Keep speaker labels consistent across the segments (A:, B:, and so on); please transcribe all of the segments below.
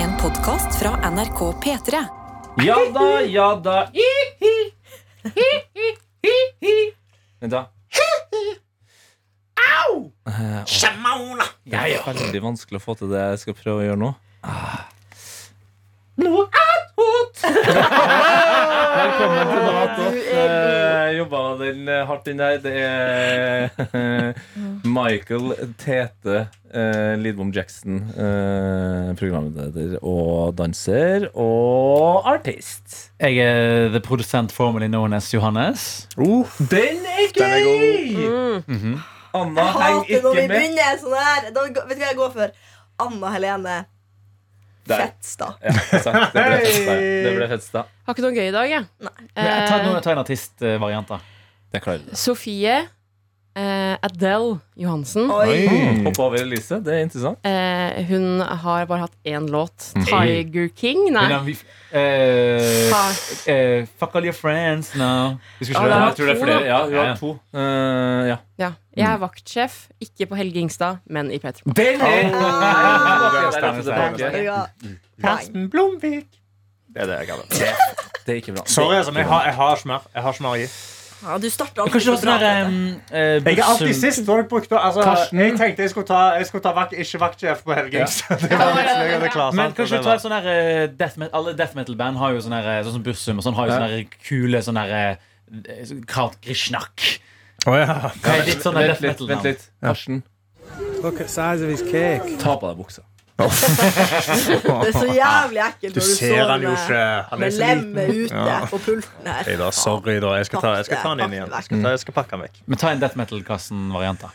A: En podkast fra NRK P3.
B: Ja da, ja da. Hi, hi. Hi, hi, hi, hi. Vent, da. Au!
C: Shamauna!
B: Det er veldig vanskelig å få til det jeg skal prøve å gjøre nå.
C: Noe annet!
B: Velkommen til Noat. Jeg jobba den eh, hardt inn der. Det er eh, Michael Tete eh, Lidbom Jackson, eh, programleder og danser og artist.
C: Jeg er the produsent formally known as Johannes.
B: Den er Mhm. gøy! Anna henger
D: Mm. Hater når vi
B: ikke med.
D: begynner sånn her. Da, vet du hva jeg går for? Anna Helene
B: Der.
D: Fetstad.
B: Ja, sant. Det ble festa. Det ble festa.
E: Har ikke noe gøy i dag, jeg.
C: Jeg tar,
E: Eh,
C: nå- ta en artistvariant, da.
B: Det klarer vi.
E: Sofie eh, Adele Johansen.
D: Oi.
B: Hoppe over Elise. Det er interessant.
E: Eh, hun har bare hatt én låt.
B: Mm.
E: Tiger King? Nei.
C: Men da vi- eh,
E: Ha.
C: eh, fuck all your friends now. Vi skal
E: Ja,
C: ikke
E: da.
C: høre
B: Jeg tror det er flere. Ja, hun har to. Eh, ja.
E: Ja. Jeg er vaktsjef, ikke på Helge Ingstad, men i Peter
B: Mm-hmm.
E: Pan.
C: Den
B: Ah.
C: er
B: Stemmer,
D: Ja. Poeng.
C: Blomvik.
F: Det er det jeg kaller det.
B: Det er ikke bra.
F: Sorry, altså, men jeg har, jeg har ikke mer. Jeg har ikke mer å gi.
D: Ja, du starter alltid
C: Kanskje det var
D: så bra.
C: sånn der
D: Tete.
C: um, eh,
F: Jeg er alltid
C: bussum-
F: sist. hva har dere brukt da? Altså,
C: Karsten.
F: jeg tenkte jeg skulle ta, jeg skulle ta vakt, ikke vaktsjef på helgen. så Det var litt slik at jeg klarte
C: Men
F: alt
C: kanskje
F: det
C: du tar
F: der.
C: sånn her eh, death metal, Alle death metal-band har jo sånn her eh, Sånn som Bussum og sånn har jo
B: Ja.
C: sånn her kule sånn her eh, Kraut Grishnakk.
F: Å, ja.
C: Hva er ditt sånn her
B: Vent
C: death
B: litt. vent
C: metal-navn?
B: litt Karsten,
G: Look at size of his cake.
B: ta på deg buksa.
D: Det er så jævlig ekkelt
F: Du
D: når du
F: ser
D: står
F: han jo
D: med,
F: ikke. Han er
D: med
F: så liten.
D: lemmet ute
F: Ja.
D: på pulten her.
F: Nei da, sorry, da. Jeg skal ta, jeg skal ta den inn igjen. Jeg skal, ta, jeg skal pakke den vekk.
C: Men ta en death metal-kassen-variant, da.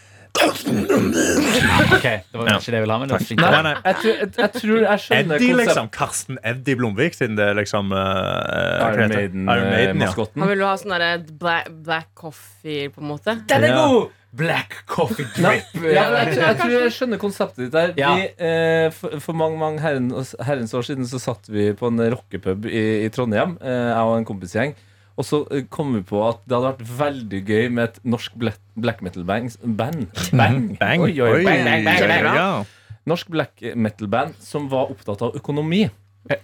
C: Ok, Det var
F: Ja.
C: ikke det jeg ville ha, men det var fint.
F: Nei, nei.
B: Jeg tror jeg, jeg, tror jeg skjønner
F: Eddie,
B: konseptet.
F: liksom. Karsten Eddie Blomvik, siden det er liksom eh, hva heter
B: Iron eh,
F: det? Iron Maiden, ja.
B: Maiden-maskotten.
E: Han vil jo ha sånn derre black, black coffee, på en måte.
C: Den er
F: Ja.
C: god! Black coffee grip.
B: Ja, men jeg, jeg tror jeg skjønner konseptet ditt der.
C: Ja.
B: Vi, eh, for, for mange mange herren, herrens år siden så satt vi på en rockepub i, i Trondheim, eh, jeg og en kompisgjeng. Og så eh, kom vi på at det hadde vært veldig gøy med et norsk ble- black metal-band. Bang.
F: Bang.
B: Oi, oi, bang, bang, bang,
F: Ja,
B: bang, bang.
F: ja.
B: Norsk black metal-band som var opptatt av økonomi.
E: Ja.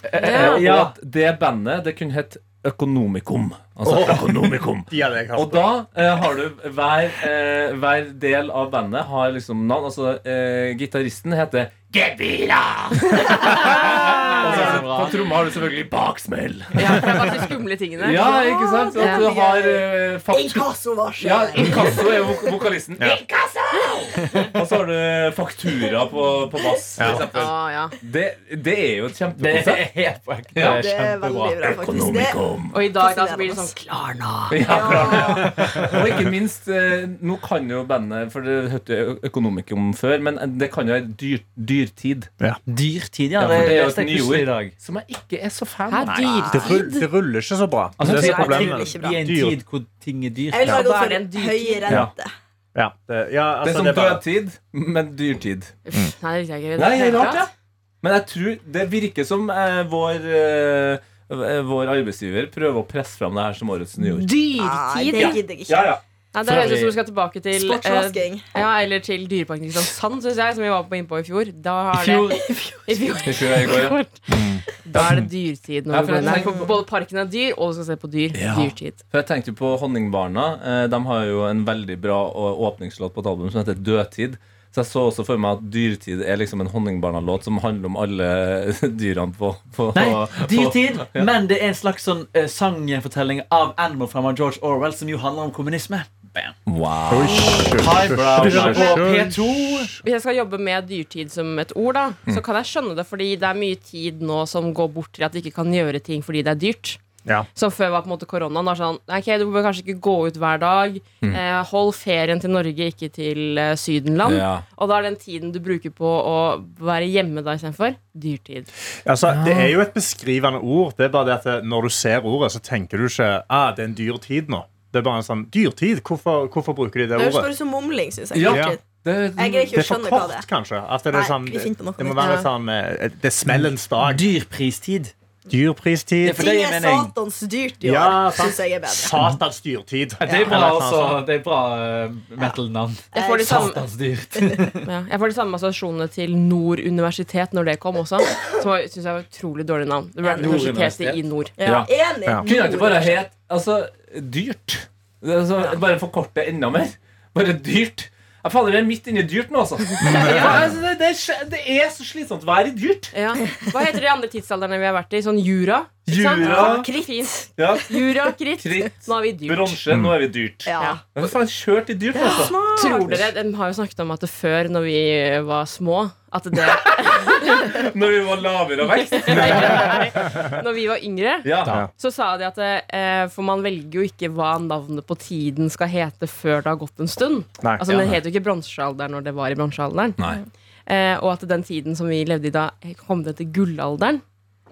B: Og at det bandet det kunne hett Økonomikum. Altså Økonomikum.
F: De hadde jeg hatt.
B: Og da eh, har du hver, eh, hver del av bandet har liksom navn. Altså eh, gitaristen heter Gebira! Og så på tromma har du selvfølgelig Baksmell.
E: Ja, for det er bare de skumle tingene.
B: Ja, ikke sant? Så at du har eh, faktu-
D: Inkassovarsel.
B: ja, Inkasso er vok vokalisten. Inkasso! Og så har du Faktura på, på bass. for
F: Ja.
B: eksempel.
E: Ah, ja.
B: Det, det er jo et
C: Det er
B: kjempekonsept.
C: helt på ekte.
B: Ja.
D: Det er
C: Kjempebra.
D: veldig bra, faktisk. Det,
B: Økonomikum.
E: Og i dag da, så blir det sånn
B: Ja, bra.
D: ja.
B: Og ikke minst, eh, nå kan jo bandet For det hørte jeg Økonomikum før, men eh, det kan jo være dyr, dyrtid.
C: Dyrtid, ja.
B: Ja, for
C: Det
B: det er jo
C: er
B: et
C: et
B: nyord.
C: nyord Altså, i dag.
B: Som jeg ikke er så fan
E: Hæ,
B: av.
F: Det,
E: dyr.
F: rull, det ruller ikke så bra.
C: Altså,
F: det er
C: det
F: så problemet.
D: ikke bra.
C: I en
F: Dyr.
C: tid hvor ting er dyrt.
D: Jeg vil
E: Ja.
D: bare gå
E: Da er
D: for
E: det en dyr
D: høy
E: tid.
D: rente.
F: Ja, det, ja,
B: Det er
F: altså,
B: som
F: det er bare,
B: dødtid, men dyrtid.
E: Uff, Nei, det likte jeg ikke.
B: Mm. Nei, det er rart,
E: ja.
B: ja. Men jeg tror det virker som eh, vår eh, eh, vår arbeidsgiver prøver å presse fram det her som årets nyår.
D: Nei, det
E: Dyrtid. Ja.
D: gidder jeg ikke.
B: ja.
E: Nei, det høres ut som du skal tilbake til eh,
D: Sportsvasking.
E: Ja, eller til Dyreparken i Kristiansand, synes jeg, som vi var på innpå i fjor. Da er det, I fjor.
B: I fjor, i går, ja.
E: Da er det dyrtid når
B: Ja,
E: du
B: for jeg
E: går inn
B: tenker på-
E: der. Både parken er dyr, og du skal se på dyr. Dyrtid.
B: For jeg tenkte jo på Honningbarna. Eh, de har jo en veldig bra å- åpningslåt på et album som heter Dødtid. Så jeg så også for meg at Dyrtid er liksom en Honningbarna-låt som handler om alle dyrene på, på
C: Nei,
B: på-
C: dyrtid, men det er en slags sånn eh, sangfortelling av Animal fra George Orwell som jo handler om kommunisme. Bam.
B: Wow.
C: Du hører på P2.
E: Hvis jeg skal jobbe med dyrtid som et ord, da, så kan jeg skjønne det, fordi det er mye tid nå som går bort til at du ikke kan gjøre ting fordi det er dyrt.
F: Ja.
E: Som før var på en måte koronaen. Da sånn, ok, Du bør kanskje ikke gå ut hver dag. Eh, hold ferien til Norge, ikke til eh, Sydenland.
B: Ja.
E: Og da er den tiden du bruker på å være hjemme da istedenfor, dyrtid.
F: Altså, det er jo et beskrivende ord. Det er bare det at eh, Når du ser ordet, så tenker du ikke ah, det er en dyr tid nå. Det er bare en sånn Dyrtid? Hvorfor, hvorfor bruker de det
D: Det høres
F: ordet?
D: bare ut som mumling, syns jeg.
B: Ja.
D: Dyrtid.
B: Det,
D: Jeg greier
F: Det
D: ikke å
F: er for
D: skjønne hva
F: kort,
D: det er.
F: kanskje. At det,
D: Nei,
F: er sånn,
D: vi finner på noe
F: det må
D: nytt.
F: være litt sånn eh, Det er smellens dag.
C: Dyrpristid.
F: Dyrpristid.
C: Ja, for det
D: Ting
C: gir
D: er
C: mening.
D: satans dyrt i år,
F: Ja, sant.
D: syns jeg er bedre.
F: Satans dyrtid.
C: Det er altså- bra,
F: Eller noe
C: også,
F: sånt.
C: det er bra eh, metal-navn.
E: Jeg får de samme,
C: Satans dyrt.
E: ja, jeg får de samme assosiasjonene til Nord universitet når det kom også. Som jeg synes jeg var et utrolig dårlig navn. Det ble
C: Nord
E: Universitetet
C: Universitet.
E: i nord.
B: Ja.
D: Enig.
F: Ja.
B: Kunne jeg ikke bare het altså, dyrt? Det er Altså, bare forkorte enda mer? Bare dyrt? Jeg faller det er midt inni dyrt nå, altså. Ja, altså det, det, er, sj- det er så slitsomt å være i dyrt.
E: Ja. Hva heter de andre tidsalderne vi har vært i? Sånn jura? ikke sant?
B: Jura.
E: Kritt. Fint.
B: Ja,
E: Jura, kritt.
B: Kritt.
E: Nå er vi dyrt.
B: Bronse, nå er vi dyrt.
D: Ja.
E: Ja.
B: Jeg har faen kjørt i dyrt, altså.
E: Tror dere, De har jo snakket om at det før, når vi var små At det
B: Når vi var lavere vekst.
E: Når vi var yngre,
B: Ja.
E: så sa de at eh, For man velger jo ikke hva navnet på tiden skal hete før det har gått en stund.
F: Nei.
E: Altså, Det het jo ikke bronsealderen når det var i bronsealderen.
B: Nei.
E: Eh, og at den tiden som vi levde i da, eh, kom det til gullalderen.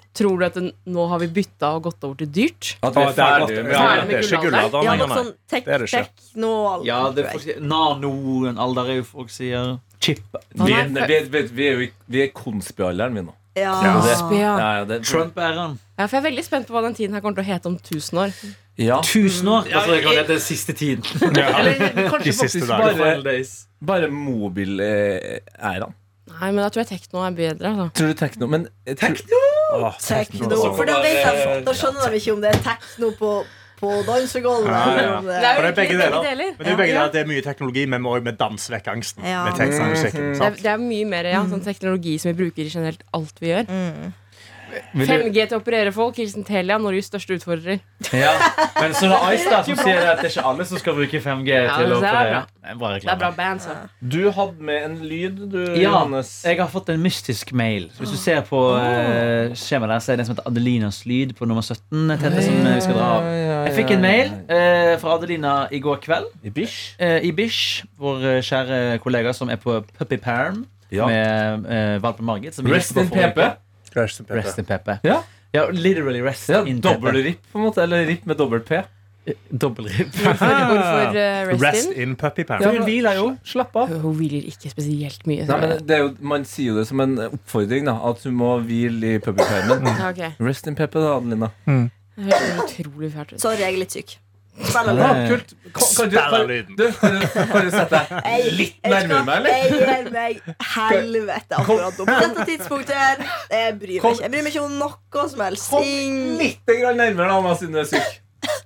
E: Tror du at den, nå har vi bytta og gått over til dyrt?
B: At
F: Å, det er godt.
B: ferdige
F: Ja,
E: Ferdig med
F: det er ikke
E: gullalderen.
F: gullalderen
D: Ja,
F: lenger,
D: noe
F: nei.
D: sånn tek
F: Det er det ikke.
D: teknoal.
C: Ja, det er
D: tror jeg.
C: forskjell- Nano-alder er jo folk sier. Chip.
B: Vi, vi, vi, vi er jo i- vi er i konspialderen, vi nå.
D: ja.
F: Ja.
B: Det-
E: Ja.
B: Ja, ja, det,
C: Trump-æraen.
E: Ja, for Jeg er veldig spent på hva den tiden her kommer til å hete om 1000 år.
B: ja.
C: Tusen år. Altså, det er den siste tiden.
F: De
B: Kanskje
F: siste
B: faktisk
F: dagene.
B: bare,
C: Final days.
B: bare mobil-æraen.
E: Nei, men Da tror jeg tekno er bedre. Altså.
B: Tror du tekno Men
D: Tekno!
F: Åh,
D: Tekno. For da, vet jeg, da skjønner de ikke om det er tekno på, på dansegulvet.
F: Ja, ja.
D: eller om det-
E: Det er jo
F: For det er begge
E: egentlig begge
F: deler.
E: deler.
F: Men det er jo begge der, at det er mye teknologi, men vi også med dans vekk angsten.
D: Ja.
F: Med teksten og musikken.
E: Det er,
F: Sant?
E: det er mye mer ja, sånn teknologi som vi bruker i generelt alt vi gjør.
D: Mm.
C: Vil du-
E: 5G til å operere folk. Hilsen Telia, Norges største utfordrer.
C: Ja. Men så det er Ice da som sier det at det er ikke alle som skal bruke 5G
E: Ja,
C: til å
E: men det er
C: operere.
E: bra.
C: Det er bra
E: Det er bra
C: reklame.
E: band, så.
B: du hadde med en lyd, du,
C: Ja,
B: Johannes.
C: jeg har fått en mystisk mail. Så Hvis du ser på
E: Ah.
C: eh, skjemaet der, så er det en som heter Adelinas lyd på nummer 17. Tete, som vi skal dra av. Jeg fikk en mail eh, fra Adelina i går kveld
B: I bish?
C: eh, i Bish. Vår eh, kjære kollega som er på Puppy Parm
B: Ja.
C: med eh, valpen Margit. som vi
B: Rest
C: gikk på
B: in
C: forrige
B: PP.
C: uke.
F: Rest in peace.
C: Rest in Pepe.
B: Ja.
C: ja literally rest
B: Ja,
C: in
B: dobbel
C: Pepe.
B: ripp, på en måte. Eller ripp med dobbel P.
C: Dobbelribb.
E: Hvorfor eh, rest,
F: Rest
E: in?
F: in puppy pants.
B: Ja, men- Slapp av.
E: Hun hviler ikke spesielt mye.
B: Nei, men det er jo, man sier jo det som en oppfordring, da. At du må hvile i
C: Mm.
B: pubipermen.
E: Ja, ok.
B: Rest in pepe, da, Adelina.
E: Det høres utrolig fælt ut.
D: Sorry, jeg er litt syk. Spiller
B: Ja,
D: bra.
B: kult. Kan, kan du,
F: Spell
B: kan,
F: av lyden.
B: du, kan du, kan du sette deg
D: Jeg-
B: litt
D: jeg skal-
B: nærmere meg, eller?
D: Jeg gir meg helvete akkurat nå. På dette tidspunktet her, jeg bryr meg ikke. Jeg bryr meg ikke om noe som helst.
B: Kom
D: Ingen-
B: litt grann nærmere, da, Anna, siden du er syk.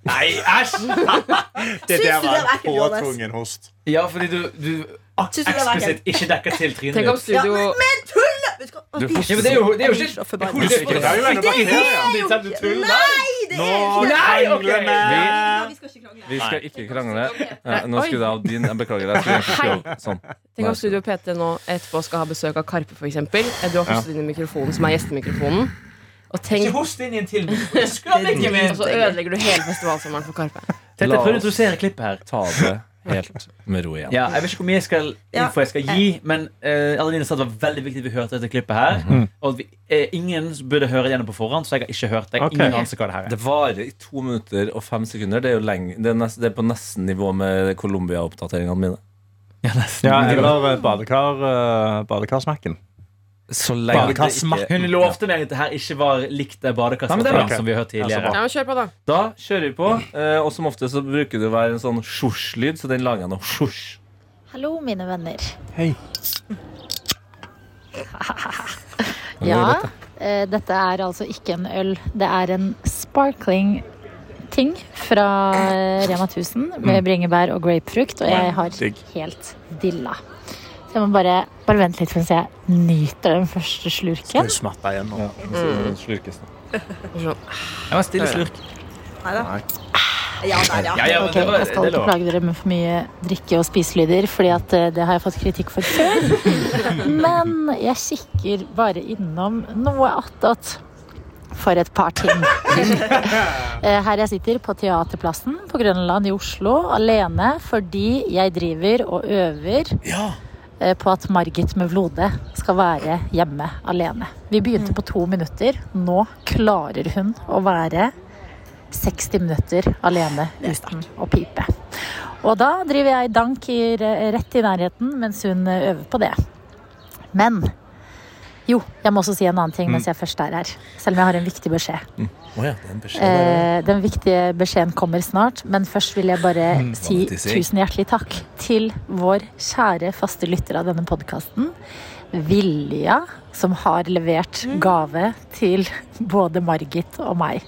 F: Nei, æsj! Det
D: Syns
F: der
D: du det
F: var
D: var
F: en
D: ekkelt, Johannes?
F: påtvungen host.
C: Ja, fordi du, du
D: Syns du det var ekkelt?
C: eksplisitt ikke dekker til trynet
E: Tenk om
C: ditt.
D: Ja,
E: studio
D: men, men tull! Vet du hva?
B: Du får-
C: Ja, men det er jo, det er jo
D: Jeg blir
C: ikke
D: så forbanna.
C: Det er jo ikke-
F: Det er jo ennå bakterier.
D: Det er jo ikke-
C: tull,
D: Nei, det er ikke det.
C: Nei, ok.
D: Nei, Vi skal ikke krangle.
B: Vi skal ikke krangle. Ja,
E: Nei,
B: nå
E: oi.
B: skulle det av din. Jeg beklager. Jeg skulle egentlig
E: Hei.
B: ikke gjøre sånn.
E: Tenk om Studio PT nå etterpå skal ha besøk av Karpe, f.eks. Du har fått inn i mikrofonen, som er gjestemikrofonen. Og tenk
C: Ikke host inn i en til mikrofon.
E: Og så ødelegger du hele festivalsommeren for Karpe.
C: Tete, prøv å introdusere klippet her.
B: Ta det helt med ro igjen.
C: Ja, jeg vet ikke hvor mye jeg skal,
D: Ja.
C: info jeg skal gi, men eh, Adeline sa det var veldig viktig at vi hørte dette klippet her. Og at vi, eh, ingen burde høre det gjennom på forhånd, så jeg har ikke hørt det. Jeg har Ingen anelse hva det her er.
B: Det varer i to minutter og fem sekunder. Det er jo lenge. Det er, nest, det er på nesten nivå med Colombia-oppdateringene mine.
C: Ja, nesten.
F: Ja, eller badekar, eh, badekarsmakken.
B: Så lenge det ikke
C: Hun lovte meg at det her ikke var likt
B: Nei,
C: det
B: men det er
C: badekarsmaterialet
F: bra.
C: som vi har hørt tidligere.
E: Ja, men kjør på, da.
B: Da kjører vi på, eh, og som ofte så bruker det å være en sånn sjosj-lyd, så den lager jeg nå. Sjosj.
H: Hallo, mine venner.
F: Hei.
H: Ja, eh, dette er altså ikke en øl. Det er en sparkling ting fra eh, Rema 1000 med bringebær og grapefrukt, og jeg har
F: Mm. digg.
H: helt dilla. Så jeg må bare, bare vente litt mens jeg nyter den første slurken.
F: Smatta igjen nå.
E: Mm.
B: Slurkes nå.
C: Jeg var stille slurk.
D: Ja, der, ja.
C: Ja, ja, men
H: Ok,
C: det var,
H: jeg skal
C: det
H: ikke
C: var.
H: plage dere med for mye drikke- og spiselyder, fordi at eh, det har jeg fått kritikk for før. Men jeg kikker bare innom noe attåt for et par ting. Eh, Her jeg sitter på Teaterplassen på Grønland i Oslo alene fordi jeg driver og øver eh, på at Margit med Vlode skal være hjemme alene. Vi begynte på to minutter. Nå klarer hun å være 60 minutter alene uten å pipe. Og da driver jeg eh, dank i, rett i nærheten mens hun øver på det. Men Jo, jeg må også si en annen ting mens jeg først er her. Selv om jeg har en viktig beskjed.
B: Å ja, det er en beskjed.
H: Eh, den viktige beskjeden kommer snart, men først vil jeg bare si
B: vanlig si.
H: tusen hjertelig takk til vår kjære faste lytter av denne podkasten. Vilja, som har levert gave til både Margit og meg.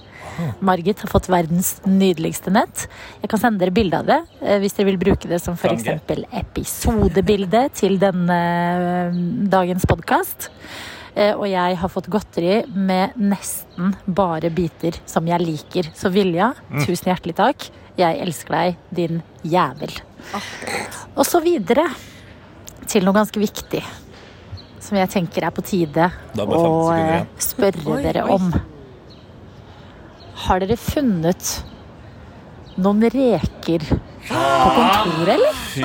H: Margit har fått verdens nydeligste nett. Jeg kan sende dere bilde av det eh, hvis dere vil bruke det som
B: Kan
H: f.eks.
B: ikke.
H: episodebilde til denne eh, dagens podkast. Eh, Og jeg har fått godteri med nesten bare biter som jeg liker. Så Vilja, tusen hjertelig takk. Jeg elsker deg, din jævel. Og så videre til noe ganske viktig. Som jeg tenker er på tide
B: Da er det bare 50
H: å
B: sekunder
H: eh,
B: igjen.
H: spørre
D: Oi,
H: dere
D: oi.
H: om. Har dere funnet noen reker på kontoret, eller?
B: Fy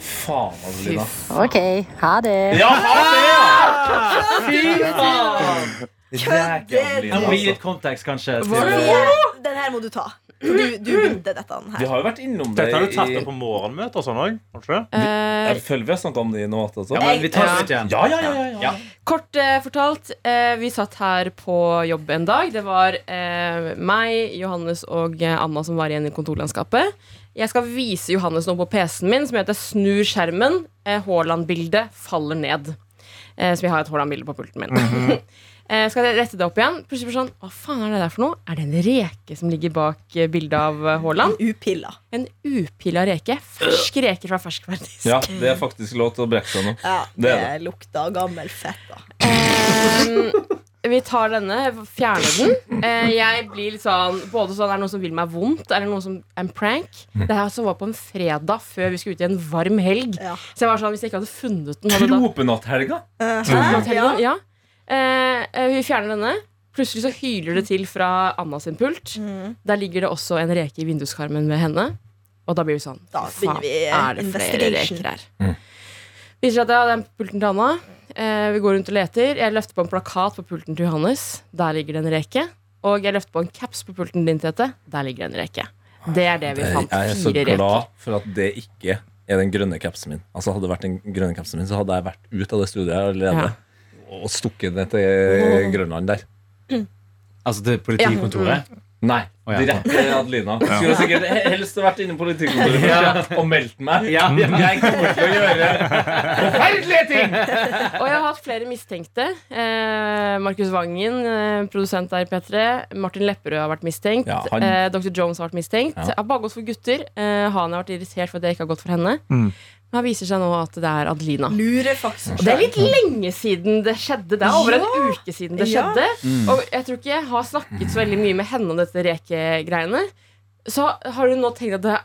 B: faen, altså, Adelina.
H: OK, ha det.
B: Ja, ha det, ja!
D: Kødder
B: Det er ikke
C: Jeg må gi
D: du?
B: Adelina,
C: litt kontekst, kanskje. til-
D: Sofie, den her må du ta. Du, du vinner dette
B: Vi
D: her.
B: har jo vært innom det
F: Dette har du tatt
B: i-
F: opp på morgenmøter og sånn òg? Har
E: Eh,
B: Jeg føler vi har snakket om det i noe annet også.
C: Ja, men vi tar det ut igjen.
B: Ja, ja, ja, ja, ja.
E: Kort eh, fortalt, eh, vi satt her på jobb en dag. Det var eh, meg, Johannes og eh, Anna som var igjen i kontorlandskapet. Jeg skal vise Johannes noe på PC-en min som heter 'Snur skjermen'. Eh, Haaland-bildet faller ned. Eh, som jeg har et Haaland-bilde på pulten min. eh, skal jeg rette det opp igjen? Plutselig blir det sånn, Hva faen er det der for noe? Er det en reke som ligger bak eh, bildet av eh, Haaland?
D: Upilla.
E: En upilla reke. Fersk reke fra ferskverdisk.
B: Ja, det er faktisk lov til å brekke seg nå.
D: Ja,
B: Det
D: det
B: er
D: lukter gammel fett, da.
E: Ehm, vi tar denne, fjerner den. Eh, jeg blir litt sånn Både sånn, er det noen som vil meg vondt? Er det noen som er en prank? Det her som var på en fredag før vi skulle ut i en varm helg.
D: Ja.
E: Så jeg var sånn, hvis jeg ikke hadde funnet den hadde da,
B: Tropenatthelga!
E: Tropenatt
D: Hæ?
E: helga,
D: Ja.
E: ja. Eh, eh, Vi fjerner denne. Plutselig så hyler det til fra Anna sin pult.
D: Mm.
E: Der ligger det også en reke i vinduskarmen med henne. Og da blir vi sånn
D: Da begynner
E: "Faen,
D: vi
E: er det flere
D: investigation."
E: reker her?
B: Mm.
E: Viser seg at jeg hadde den pulten til Anna. Eh, vi går rundt og leter. Jeg løfter på en plakat på pulten til Johannes. Der ligger det en reke. Og jeg løfter på en caps på pulten din, Tete. Der ligger det en reke. Det er det vi
B: Jeg
E: fant.
B: er så
E: Fire reker.
B: glad for at det ikke er den grønne kapsen min. Altså Hadde det vært den grønne kapsen min, så hadde jeg vært ut av det studiet her allerede. Og stukket ned til Grønland der.
C: Altså til politikontoret?
B: Nei,
C: Å, ja.
B: direkte til Adelina. Skulle sikkert he- helst vært inne på politikontoret først, ja, og meldt meg.
C: Ja.
B: Jeg kommer til å gjøre forferdelige ting!
E: Og jeg har hatt flere mistenkte. Eh, Markus Vangen, eh, produsent der i P3. Martin Lepperød har vært mistenkt.
B: Ja, han-
E: eh, Dr. Jones har vært mistenkt.
B: Ja.
E: Jeg har bare gått for gutter. Eh, han har vært irritert for at jeg ikke har gått for henne.
B: Mm.
E: Men han viser seg nå at det er Adelina.
D: Lurer faktisk
E: Og det er litt lenge siden det skjedde. Det er over en uke siden det
D: Ja.
E: skjedde.
B: Mm.
E: Og jeg tror ikke jeg har snakket så veldig mye med henne om dette rekegreiene. Så har hun nå tenkt at det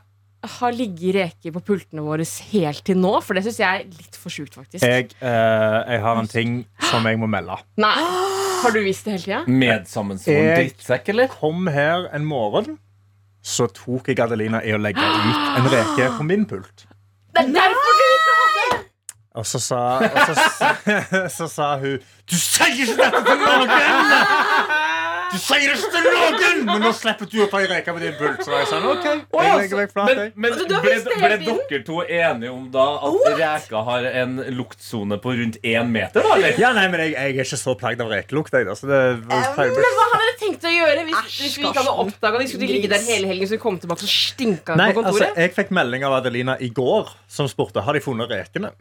E: har ligget reker på pultene våre helt til nå? For det syns jeg er litt for sjukt, faktisk.
F: jeg, eh, jeg har en ting som jeg må melde.
E: Nei. Har du visst det hele tida?
B: Medsammensvoren
F: Jeg-
B: drittsekk, eller?
F: Kom her en morgen, så tok jeg Adelina i å legge ut en reke på min pult.
E: Det er derfor du ikke har det!
F: Og så sa, og så, s- så sa hun Du sier ikke dette til noen! Du sier ikke til noen! Men nå slipper du å ta ei reke på din pult. Så var jeg sånn,
B: Oi,
F: ok, jeg legger meg
B: altså,
F: flat,
B: men
F: jeg.
B: men
E: Altså, du
B: ble,
E: har visst det
B: ble
E: hele tiden.
B: dere to enige om da at reka har en luktsone på rundt én meter, da? Eller?
F: Ja, nei, men jeg, jeg er ikke så plagd av rekelukt, jeg. da, Så det
E: Men hva hadde dere tenkt å gjøre hvis,
D: Æsj,
E: hvis vi ikke hadde
D: Karsten.
E: oppdaga det? Skulle de ligge der hele helgen så de kom tilbake så stinka
F: Nei,
E: det på
F: altså,
E: kontoret?
F: jeg fikk melding av Adelina i går som spurte har de funnet rekene.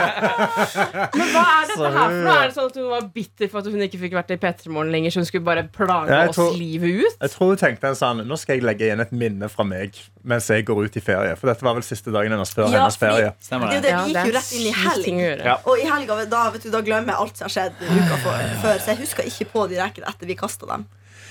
E: Men hva er dette her for noe? Er det sånn at hun var bitter for at hun ikke fikk vært i P3 Morgen lenger, så hun skulle bare plage
F: Jeg tror-
E: oss livet ut?
F: Jeg tror hun tenkte en sånn Nå skal jeg legge igjen et minne fra meg mens jeg går ut i ferie. For dette var vel siste dagen hennes før
D: Ja,
F: hennes ferie.
C: Stemmer
D: Det er jo
C: det.
D: det,
E: Ja,
D: vi
E: det
D: gikk
E: er
D: jo rett inn i
E: sykt ting
D: helg.
E: å gjøre.
F: Ja.
D: Og i helga, da, vet du, da glemmer jeg alt som har skjedd uka for, før. Så jeg husker ikke på de rekene etter vi kasta dem.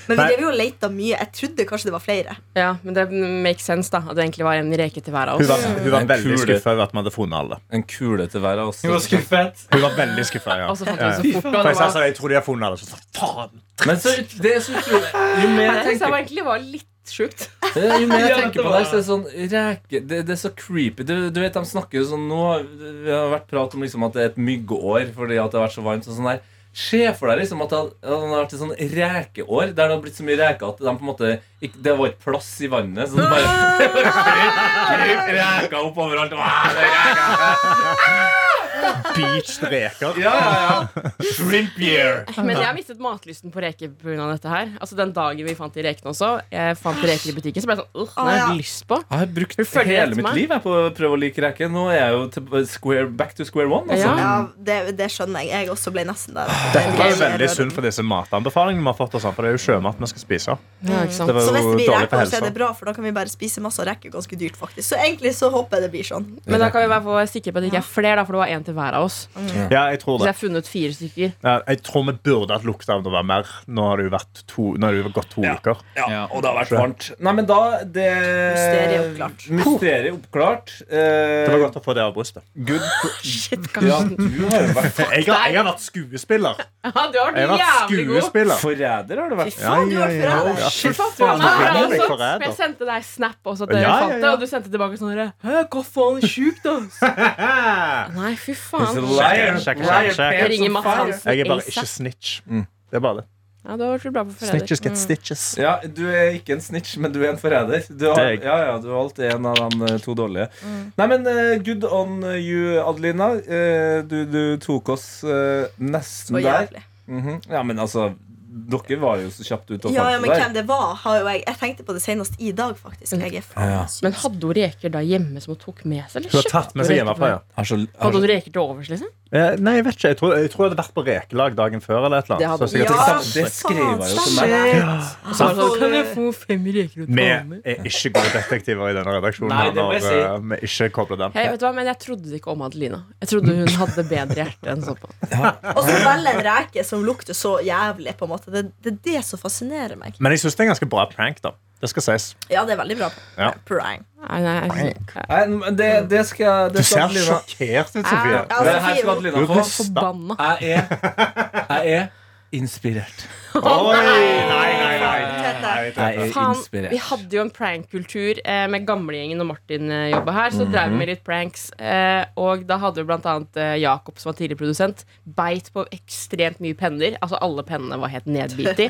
D: Men vi
F: Nei.
D: drev jo og leita mye. Jeg trodde kanskje det var flere.
E: Ja, men det makes sense, da. At det egentlig var en reke til hver av
F: Hun
E: oss.
F: var, hun var
B: En
F: veldig
B: kule.
F: skuffa over at vi hadde funnet alle.
B: En kule til hver av oss.
C: Hun var skuffet.
F: Hun var veldig skuffa, ja.
E: Og så fant vi
F: ja.
E: det så fort. Og
F: For
E: det
F: jeg sa
E: var,
F: sånn, jeg tror de har funnet alle. Så sa jeg, faen!
B: Men så, det er så utrolig Jo mer jeg
E: jeg synes det
B: tenker,
E: var egentlig var litt sjukt.
B: jo mer jeg
C: Ja,
B: tenker
C: det
B: på
C: var-
B: det, så er det sånn reke Det, det er så creepy. Du, du vet, de snakker jo sånn Nå har vi har vært prat om liksom at det er et myggår fordi at det har vært så varmt. og sånn der Se for deg liksom at det hadde- at det har vært et sånn rekeår der det har blitt så mye reker at de på en måte ikke, det var ikke plass i vannet. Så det
E: Ah!
B: bare kryp, kryp reker opp overalt. Wow, det er reker.
F: Beached reker.
B: Ja, ja, ja.
F: Shrimp year.
E: Men jeg har mistet matlysten på reker pga. dette her. Altså Den dagen vi fant de rekene også, jeg fant reker i butikken, så ble jeg sånn Åh, den har jeg ikke lyst på.
B: Jeg har brukt
E: følger etter
B: hele mitt
E: meg.
B: liv jeg, på å prøve å like reker. Nå er jeg jo til square, back to square one. Altså.
E: Ja.
D: Ja, det, det skjønner jeg. Jeg også ble nesten der.
F: Det er jo veldig synd for disse matanbefalingene vi har fått. Og sånn, for det er jo sjømat vi skal spise.
E: Mm. Ja, ikke sant?
F: Det var
D: Så
F: jo
D: hvis det blir
F: dårlig for
D: reker, så
F: helsa.
D: er det bra, for da kan vi bare spise masse og reker ganske dyrt, faktisk. Så egentlig så håper jeg det blir sånn.
E: Men da kan vi i hvert fall være sikre på at det ikke er flere, da, for det var én til hver av oss.
F: Ja, jeg tror
E: Så jeg
F: det.
E: har funnet fire stykker.
F: Ja, jeg tror vi burde hatt lukta av det var mer. Nå har det jo vært to, nå har det jo gått to uker.
B: Ja, og det har vært varmt. Nei, men da det
D: Mysteriet oppklart.
B: Mysteriet oppklart. Eh,
F: Det var godt å få det av brystet.
B: Good ja, du har jo vært
F: Jeg har, jeg har vært skuespiller.
E: Ja, du har
F: Jeg har vært
E: vært jævlig god.
F: skuespiller.
B: forræder, har du vært.
F: Ja,
D: Faen, du
F: ja,
D: har
F: ja.
D: forræder.
F: Ja,
C: Shit,
E: Ja,
C: faen.
E: men jeg
F: Nå
E: har
F: ble jeg
E: også-
F: forræder.
E: Jeg sendte deg snap også at dere
F: Ja, ja,
E: fant det,
F: ja.
E: og du sendte tilbake sånn herre Hæ, hva faen, sjukt, ass? Nei, fy faen.
F: Liar, liar,
E: Jeg ringer Mads Hansen
F: Jeg er bare ikke
E: ASAP.
F: snitch. Det er bare det.
E: Ja, du har vært bra på Mm. forræder.
F: Mm. Snitches get stitches.
B: Ja, du er ikke en snitch, men du er en forræder. Du har,
F: Det er jeg.
B: ja, ja, du er alltid en av de eh, to dårlige.
D: Mm.
B: Nei, men eh, good on you, Adelina. Eh, du, du tok oss eh, nesten
D: Så
B: der.
D: jævlig.
B: Mhm. Ja, men altså Dere var jo så kjapt ute og
D: Ja, ja,
B: fant det
D: men
B: der.
D: hvem det var, har jo jeg Jeg tenkte på det senest i dag, faktisk. Jeg er faen
B: Ja.
D: syk.
E: Men hadde hun reker da hjemme som hun tok med seg? eller?
F: Hun har tatt med seg hjemmefra, ja.
B: Har så- har
E: Hadde
B: så-
E: hun reker til overs, liksom?
F: Eh, Nei, jeg vet ikke. Jeg tror jeg, tror jeg hadde vært på rekelag dagen før. eller et eller
E: Det hadde
F: annet. Så
E: du.
F: sikkert-
D: Ja,
B: det skrev jeg jo til meg.
E: Og så var det sånn, Kan jeg få fem reker og
F: Vi
E: ta med?
F: er ikke gode detektiver i denne redaksjonen.
B: Nei, det må jeg
F: når eh, vi ikke kobler den.
E: Hei, vet du hva, men Jeg trodde det ikke om Adelina. Jeg trodde hun hadde bedre hjerte enn såpass.
D: Og så velge en reke som lukter så jævlig. på en måte Det, det er det som fascinerer meg.
F: Men jeg syns det er en ganske bra prank, da. Det skal sies.
D: Ja, det er veldig bra.
F: Ja.
D: Prank.
E: Nei, nei, jeg- jeg
B: Nei, men det, det skal jeg
F: Du
B: det skal
F: ser
B: Adelina
F: sjokkert ut, Sofie.
D: Ja, altså,
B: Det her skal
D: Sofie,
B: Adelina
F: Du
B: få.
E: er forbanna.
B: Jeg er, jeg er inspirert.
F: Oi, nei, nei, nei.
D: Tete.
F: Eh, Nei,
B: Jeg
F: Tete.
B: er
E: Faen,
B: inspirert.
E: vi hadde jo en prankkultur eh, med gamlegjengen og Martin eh, jobba her, så drev vi med litt pranks. Eh, og da hadde jo blant annet eh, Jakob, som var tidligere produsent, beit på ekstremt mye penner. Altså alle pennene var helt nedbitt i.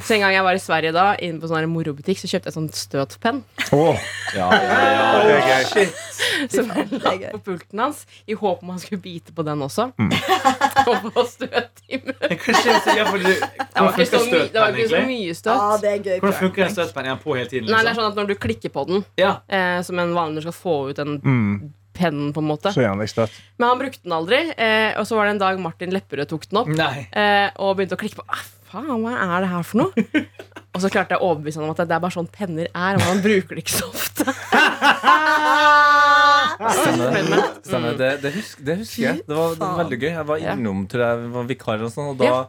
E: Så en gang jeg var i Sverige da, inne på sånn her morobutikk, så kjøpte jeg sånn støtpenn
F: Åh,
B: Ja, ja, ja.
F: det er gøy.
E: som jeg la
D: det er gøy.
E: på pulten hans, i håp om han skulle bite på den også.
C: Mm.
E: og få støt i munnen.
C: Hva skjer så jævlig
E: Det var
C: Hvordan
E: ikke så
C: funker
E: mye, det var
C: støtpenn,
E: ikke så
C: egentlig?
E: mye støt.
D: Ja, Ah, det er gøy.
C: Hvordan
D: prank.
C: funker en støtpenn? Er den på hele tiden?
E: Nei, det er
C: Liksom?
E: sånn at Når du klikker på den,
C: Ja.
E: eh, som en vanlig når du skal få ut en
F: Mm,
E: pennen, på en måte.
F: så gjerne jeg støtt.
E: Men han brukte den aldri. Eh, og så var det en dag Martin Lepperød tok den opp
C: Nei.
E: eh, og begynte å klikke på. Ah, faen, hva er det her for noe? og så klarte jeg å overbevise han om at det er bare sånn penner er. Og han bruker det ikke så ofte.
D: Ah!
B: Stemmer. Stemmer. Det, det, husk, det husker jeg. Det var, det var
D: faen.
B: veldig gøy. Jeg var
E: Ja.
B: innom tror jeg, var vikar og sånn, og da
E: Ja.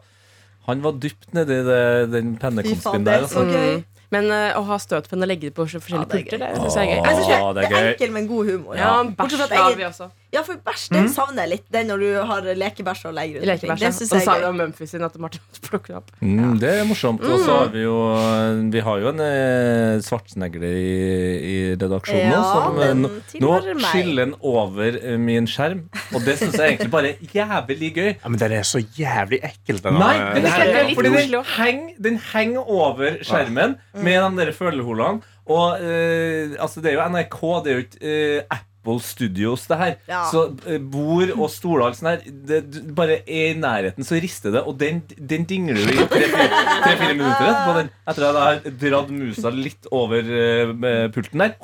B: Han var dypt nedi det- den
D: Fy faen,
B: pennekonsten
D: det
B: der.
D: er så
B: Altså.
D: gøy.
E: Mm. Men eh, å ha støtpenn og legge det på forskjellige
D: Ja, det er
E: pulter,
D: gøy.
E: det syns jeg er
D: Jeg
E: gøy.
D: synes
B: Å,
D: det
B: det er
D: er
B: gøy.
D: enkel, men god humor.
E: Ja,
D: Bortsett
E: bæsj
D: fra at
E: la
D: jeg-
E: vi også.
D: Ja, for bæsj det
E: Mm.
D: savner jeg litt. Den når du har lekebæsj og legger
E: I
D: rundt omkring.
E: lekebæsja.
D: Det
E: Og
D: synes
E: så
D: jeg
E: sa vi
D: er gøy.
E: om Memphis sin at Martin plukket den opp.
B: Mm, det er morsomt. Og så har vi jo Vi har jo en eh, svartsnegle i, i redaksjonen nå.
D: Ja,
B: som, eh,
D: den
B: nå- nå
D: tilhører meg.
B: skiller den over eh, min skjerm, og det syns jeg egentlig bare er jævlig gøy.
F: Ja, men den er så jævlig ekkel, den.
B: Nei,
F: der-
B: den
E: det
B: er
E: er
B: ikke
E: litt
B: Fordi den
E: koselig også.
B: henger, den henger over skjermen med de der følehullene. Og eh, altså, det er jo NRK, det er jo ikke eh, Apple Studios, det her.
D: Ja.
B: Så eh, bord og stoler og alt sånt her, det, du- bare er i nærheten, så rister det, og den, den dingler du i tre-fire minutter etterpå. Den, etter at jeg har dratt musa litt over eh, pulten der.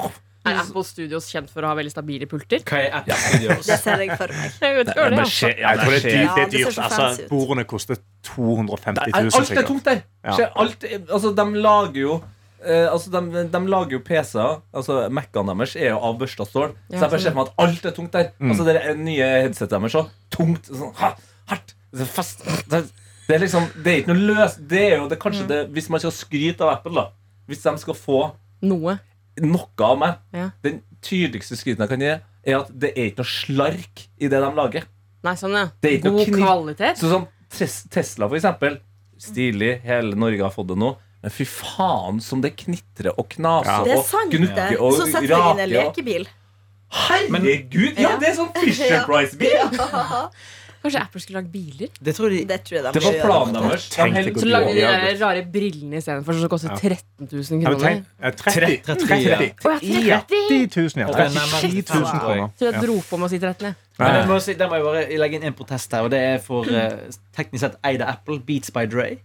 E: Er Apple Studios kjent for å ha veldig stabile pulter?
C: Hva er Apple Studios?
D: Det ser jeg for meg.
E: Jeg vet ikke hva det er. Altså.
F: Ja, jeg tror det er dyrt. Det
D: Ja,
F: er
D: det ser
F: dyrt.
D: så fancy
F: Altså,
D: ut.
F: bordene koster 250 000,
B: Alt er
F: sikkert.
B: tungt der.
F: Ja.
B: Se, alt, er- altså, de lager jo eh, altså, de, de lager jo PC-er. Altså, Mac-ene deres er jo av børsta stål.
E: Ja,
B: så jeg bare
E: sånn.
B: ser for meg at alt er tungt der.
F: Mm.
B: Altså, Det er nye headsetet deres òg. Tungt. Sånn, ha, hardt. Det er fast. Det, det er liksom Det er ikke noe løs Det er jo det, kanskje
E: Mm.
B: det Hvis man skal skryte av Apple, da. Hvis de skal få
E: Noe.
B: noe av meg,
E: Ja.
B: den tydeligste skryten jeg kan gi, er at det er ikke noe slark i det de lager.
E: Nei, sånn, ja.
B: Det er ikke noe
E: God
B: kniv-
E: kvalitet.
B: Så sånn, Tes- Tesla for eksempel Stilig, hele Norge har fått det nå Men fy faen som det knitrer og
F: Ja.
B: knaser
D: Det er
B: Og
D: sant, det.
B: gnukker og
D: Så setter du deg inn i en
B: raker og-
D: lekebil.
B: Herregud, ja
D: Ja.
B: det er sånn Fisher Price bil
E: Kanskje Apple skulle lagd biler?
C: Det tror jeg de
D: Det tror jeg de
B: Det var
D: gjøre.
B: planen deres. De
F: Tenk
B: held-
F: det
E: Så
F: går
E: lagde de
F: dårlig,
E: de
F: Albert.
E: rare brillene istedenfor, som koster 13 000
F: Ja, men
E: kroner.
F: tenk- ja, 30
C: 30,
F: 30
E: Å, jeg er 30.
F: 10 000, ja. 30 000 kroner.
E: Tror jeg dro på med å si 13. jeg.
C: Men
F: Ja.
C: jeg må si, der må jeg bare legge inn en protest her, og det er for eh, teknisk sett eide Apple, Beats by Dre.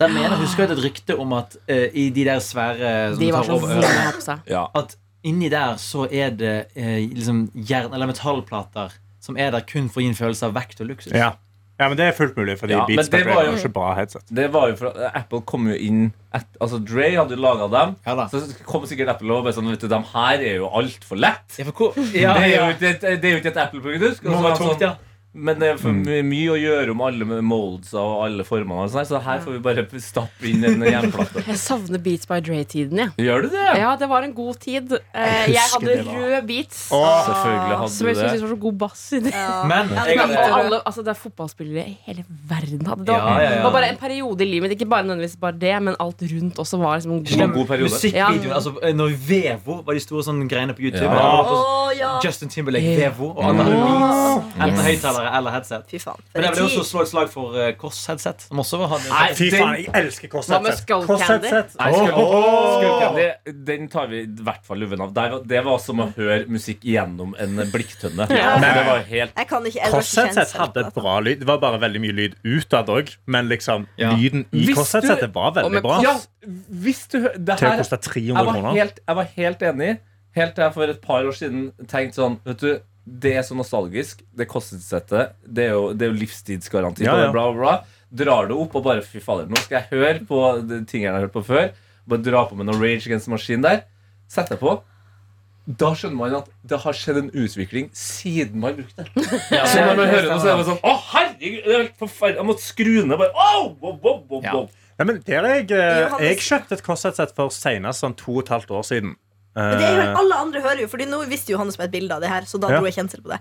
C: Der mener, husker jeg et rykte om at eh, i de der svære som
E: De var
C: tar
E: så
C: over ørene,
E: vonde å ha på seg.
B: Ja.
C: At inni der så er det eh, liksom jern- eller metallplater som er der kun for å gi en følelse av vekt og luksus.
F: Ja. ja, men det er fullt mulig, fordi
B: Ja, men
F: Beats
B: det
F: Beats
B: var
F: er
B: jo-
F: jo ikke bra headset.
B: Det var jo fra, Apple kom jo inn et, Altså Dre hadde jo laga dem.
C: Ja da.
B: Så kom sikkert Apple og bare sånn Vet du, de her er jo altfor lett.
C: Ja, for hvor, ja,
B: Det er jo
C: ja.
B: ikke et, det er jo ikke et Apple-produkt. og
C: Må
B: så var han
C: være tungt,
B: sånn,
C: ja.
B: Men det er for
F: Mm.
B: my- mye å gjøre om alle molds og alle formene. Og sånn, her, så her får vi bare stappe inn en jernplate.
E: Jeg savner Beats by Dre-tiden, jeg.
B: Gjør du det?
E: Ja, det var en god tid. Eh, Jeg
F: husker
E: hadde
F: det var-
E: rød beats.
B: Selvfølgelig
E: Som jeg
B: hadde
E: syntes
B: du det.
E: var så god bass i det.
C: Men jeg,
E: Og
D: det-
E: alle, altså det er fotballspillere i hele verden hadde det. var-
C: Ja, ja, ja.
E: Det var bare en periode i livet mitt. Ikke bare nødvendigvis bare det, men alt rundt også var liksom en
B: Det var
E: god
B: en god periode.
C: musikkvideoen,
E: Ja.
C: altså eh, når Vevo var de store sånne greiene på YouTube
B: Ja.
C: da var det på
D: Å, ja.
C: Justin Timberlake,
E: Ja.
C: Vevo og alle hadde beats. Enten høyttalere eller headset.
D: Fy faen. For
C: Men jeg
D: en
C: vil også
D: tid.
C: slå et slag for eh, Kors-headset. Som også hadde
B: Nei,
F: Fy
B: den-
F: faen, jeg elsker
E: Hva med
F: korsheadset.
E: Skull Candy?
F: Korsheadset.
B: Nei, Skull-
F: Åh!
B: Skull Candy, Den tar vi i hvert fall luven av. Der var- Det var som å høre musikk gjennom en blikktønne. Altså, det var helt
D: Jeg kan ikke ellers
F: Korsheadset
D: kjenne
F: hadde et bra lyd. Det var bare veldig mye lyd utad òg, men liksom,
C: Ja.
F: lyden i
B: Hvis du-
F: korsheadsetet var
E: Og
F: veldig
E: med
F: bra.
B: Ja, hvis du hø- det
F: Til å
B: her,
F: koste
B: jeg,
F: 300
B: var
F: kroner.
B: helt, jeg var helt enig Helt til jeg for et par år siden tenkte sånn Vet du, det er så nostalgisk Det kostnadssettet, det er jo, det er jo livstidsgaranti
F: Ja,
B: på det,
F: ja.
B: Bla, bla, bla Drar det opp og bare, fy fader Nå skal jeg høre på de tingene jeg har hørt på før Bare dra på med noen Rage Against the Machine der Sette på da skjønner man at det har skjedd en utvikling siden man brukte det. så når man hører det, så er det sånn Å, herregud, det er helt forferdelig. Jeg måtte skru ned bare Au! wow, wow, wow,
C: Ja.
B: wow.
F: Nei, men der er jeg, eh,
D: Johannes-
F: jeg kjøpte et korsheadset for senest sånn to og et halvt år siden.
D: Men det er jo,
F: Eh,
D: alle andre hører jo, Fordi nå visste jo Johannes med et bilde av det her, så da
F: Ja.
D: dro jeg kjensel på det.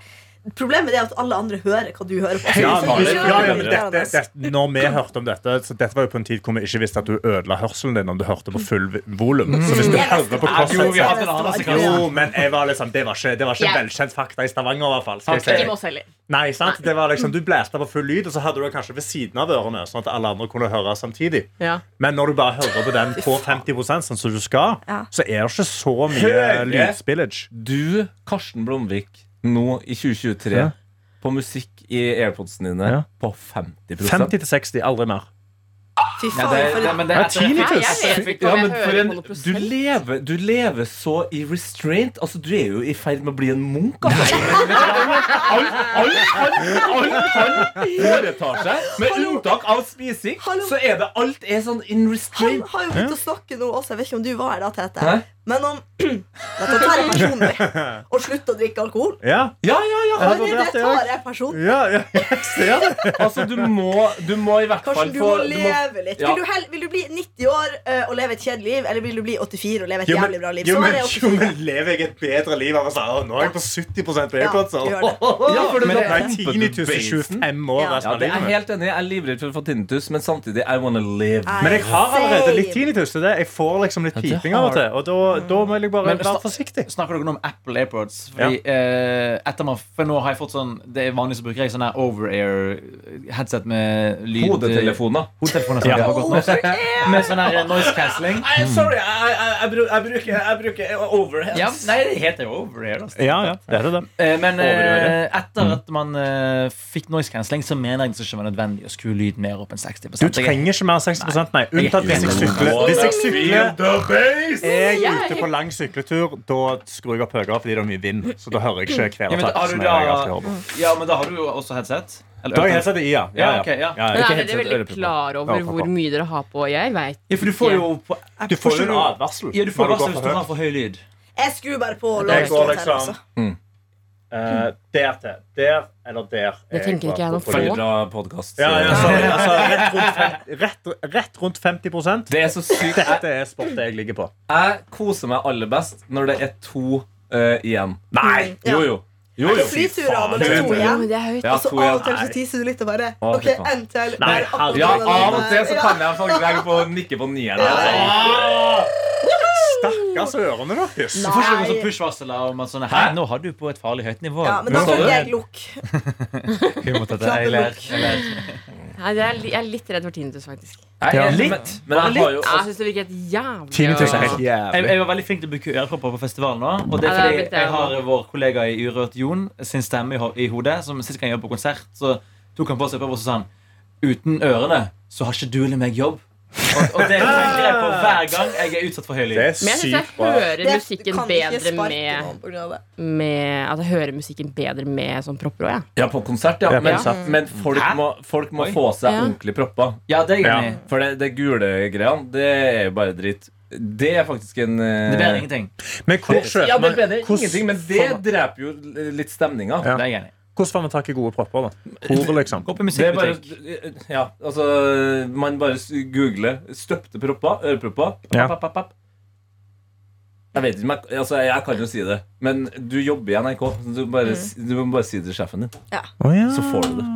D: Problemet er at alle andre hører hva du hører på.
F: ja,
D: Så
F: men,
D: du
B: det-
D: skjønner
F: ja,
D: jo
F: ja, men
D: ikke,
F: dette,
D: Johannes.
F: dette, når vi hørte om dette Så Dette var jo på en tid hvor vi ikke visste at du ødela hørselen din om du hørte på full volum. Så hvis du
D: Jeg
F: hører
D: visste
F: på
D: det.
C: Jo, vi har
F: korsheadset
C: hatt en annen sekvens.
F: Jo, men jeg var liksom, det var ikke, det var ikke
E: Jeg-
F: velkjent fakta i Stavanger. I hvert fall, skal jeg
E: Ikke
F: si.
E: med oss heller.
F: Nei, sant? Det var liksom, Du blæste på full lyd, og så hadde du det kanskje ved siden av ørene. Sånn at alle andre kunne høre samtidig
E: Ja.
F: Men når du bare hører på den på 50 sånn som du skal,
D: Ja.
F: så er det ikke så mye
B: Hører.
F: lydspillage.
B: Du, Karsten Blomvik, nå i 2023
F: Ja.
B: på musikk i airpodsene dine
F: Ja.
B: på 50
F: 50-60, aldri mer.
D: Fy
C: Ja,
D: faen,
C: det,
D: for
C: det,
D: en
C: men det er etter-
F: Tinnitus.
E: Nei, jeg vet ikke
B: Ja,
E: om jeg
B: men for
E: hører
B: en,
E: på noe
B: du,
E: prosent.
B: lever, du lever så i restraint. Altså, Du er jo i ferd med å bli en munk. Altså. Alt alt han- alt han foretar seg, med unntak av spising,
D: Hallo.
B: så er det alt er sånn in
D: Han
B: restraint.
D: har jo begynt å snakke nå også. Jeg vet ikke om du var her da, Tete.
B: Hæ?
D: Men om Dette tar jeg personlig. Å slutte å drikke alkohol.
F: Ja,
B: Ja, ja, ja.
F: Ja,
D: Det,
F: det var
D: det
F: rett, det
D: tar jeg personlig.
F: ja, ja, jeg ser det.
B: Altså, du må, du må i hvert fall
D: Karsten, du
B: få
D: må
B: du må-
D: leve litt.
B: Ja.
D: Vil du, hell, vil du bli 90 år eh, og leve et kjedelig liv, eller vil du bli 84 og leve et
F: Jo, men,
D: jævlig bra liv?
F: jo,
D: Svaret
F: men,
D: er
F: jo,
D: 84.
F: men lever jeg et bedre liv av å si «Å, nå er jeg på 70 på airpodser?
D: Ja, du gjør det.
B: Ja, for det-
F: Men
B: da
F: nei,
B: pumper du
F: tinnitus i
B: basen.
F: 25 år.
D: Ja.
F: resten
B: Ja,
F: av
B: det er
F: livet.
B: jeg helt enig. i. Jeg er livredd for å få tinnitus, men samtidig I wanna live.
D: Nei,
F: Men jeg har allerede litt
D: same.
F: tinnitus til det. Jeg får liksom litt
B: det
F: piping
B: har
F: av og til. Og da,
E: Mm.
F: da må jeg bare
C: Men
F: være
C: sta-
F: forsiktig.
C: Snakker dere nå om Apple AirPods? Fordi, eh, etter man, for nå har jeg fått sånn Det er vanlig så bruker jeg sånn her over-air-headset med lyd
B: Hodetelefoner.
C: Hodetelefoner snakker jeg godt nå. Med sånn her eh, noise cancelling.
B: Nei, sorry, jeg, jeg, jeg, bru- jeg bruker, jeg bruker overhead.
C: Ja, nei, det heter jo over-air. Altså.
F: Ja, ja, det er det.
C: Eh, men eh,
F: Over-øret.
C: etter at man eh, fikk noise cancelling, så mener jeg det ikke var nødvendig å skru lyden mer opp enn 60
F: Du trenger ikke mer enn 60 nei. Unntatt hvis jeg sykler. Hvis jeg sykler jeg er ute på lang sykletur, da skrur jeg opp høyere fordi det er mye vind. Så da hører jeg ikke
C: ja, men, da-
F: kvelertak.
C: har
F: som
C: du
F: jeg alltid hører
C: da,
F: på.
C: ja, men da har du jo også headset. Eller
F: Da har
C: ørepropper.
F: jeg headset i, ja.
C: Ja, ok, ja.
E: Men
F: ikke
E: er dere
F: headset,
E: veldig
F: ørepropper.
E: klar over
F: Ørepropper.
E: hvor mye dere har på? Jeg vet
C: Ja, for du får jo på,
F: Du får jo en
C: ikke-
F: advarsel.
C: Ja, du får
F: når går
C: varsel hvis
F: for
C: du
F: høyt.
C: har for høy lyd.
D: Jeg skrur bare på og
F: Jeg
D: lar
F: går
D: det stå
F: liksom
D: her, altså.
C: Mm.
F: eh, der til. Der eller der.
E: Det
F: er
E: tenker
F: jeg
E: ikke jeg
F: på-
E: noe
F: på
E: på.
F: lyd.
B: Bra podcast,
F: Ja, ja,
B: så-
F: sorry. altså, rett, rundt fem, rett, rett rundt 50
B: Det er så sykt. Jeg,
F: Dette er sportet jeg ligger på.
B: jeg koser meg aller best når det er to eh, igjen.
F: Nei!
D: Ja. altså
B: Jo, jo. jo, jo.
D: Fly turer av når det er to
E: Ja,
D: igjen.
E: men det er høyt.
B: Ja,
D: Og så
B: to
D: av
B: igjen.
D: og til så tiser du litt og bare
B: Å,
D: OK,
B: fy faen.
D: en til.
F: Nei,
D: Bare akkurat
B: Ja,
D: den
B: av og til så
D: der.
B: kan jeg faktisk legge på nikke på nieren.
F: Stakkars lukkes ørene deres.
C: Du får ikke sånn push-varsler om at sånn Hæ, nå har du på et farlig høyt nivå.
D: Ja, men da
B: Hva sa
D: føler
B: du?
D: jeg lukk.
C: Humor til deg, jeg ler. Jeg ler.
E: Nei, det er, li- jeg er litt redd for tinnitus, faktisk.
B: Jeg er enig,
C: Litt.
B: Men, men jeg har jo
E: Ja, Jeg syns det virker helt jævlig.
F: Tinnitus er helt
C: Jeg,
F: jævlig.
C: jeg var veldig flink til å bruke ørepropper på festival nå. Og det er
E: Ja, det har jeg
C: fordi
E: blitt det
C: jeg har
E: også.
C: vår kollega i Urørt, Jon, sin stemme i, ho i hodet. Som sist gang jeg jobbet på konsert, så tok han på seg prøver og så sa han Uten ørene så har ikke du eller meg jobb. Og, og det tenker jeg på hver gang jeg er utsatt for høy
F: Det
C: lyd.
F: er
E: Men jeg syns jeg
F: sykt bra.
E: hører
D: Det-
E: musikken
D: kan ikke
E: bedre
D: sparke
E: med,
D: noen på grunn av det.
E: med At jeg hører musikken bedre med sånn propper òg, jeg.
B: Ja, på konsert, ja.
F: Ja, på
B: Men,
F: konsert.
B: men folk,
C: Hæ?
B: må, folk må
C: Oi.
B: få seg
E: Ja.
B: ordentlig propper.
C: Ja, det er jeg
F: Ja.
C: enig i.
B: For det, det gule greiene, det er jo bare dritt. Det er faktisk en eh,
C: Det blir ingenting.
F: Men hvor kjøper
B: Ja, det
F: man-
B: bedrer
F: hvordan
B: ingenting, men det
F: får man-
B: dreper jo litt stemninga.
F: Ja.
C: Det er jeg enig i.
F: Hvordan får man tak i gode propper, da? Hvor, liksom?
C: Gå på
B: Det er bare,
C: musikkbutikk.
B: ja, altså Man bare s- googler 'støpte propper', ørepropper.
F: Ja.
C: Papp, papp, papp.
B: Jeg vet ikke, men jeg- altså, jeg kan jo si det, men du jobber i NRK. Så du, bare, s- du må bare si det til sjefen din,
F: Å, ja.
B: så får du det.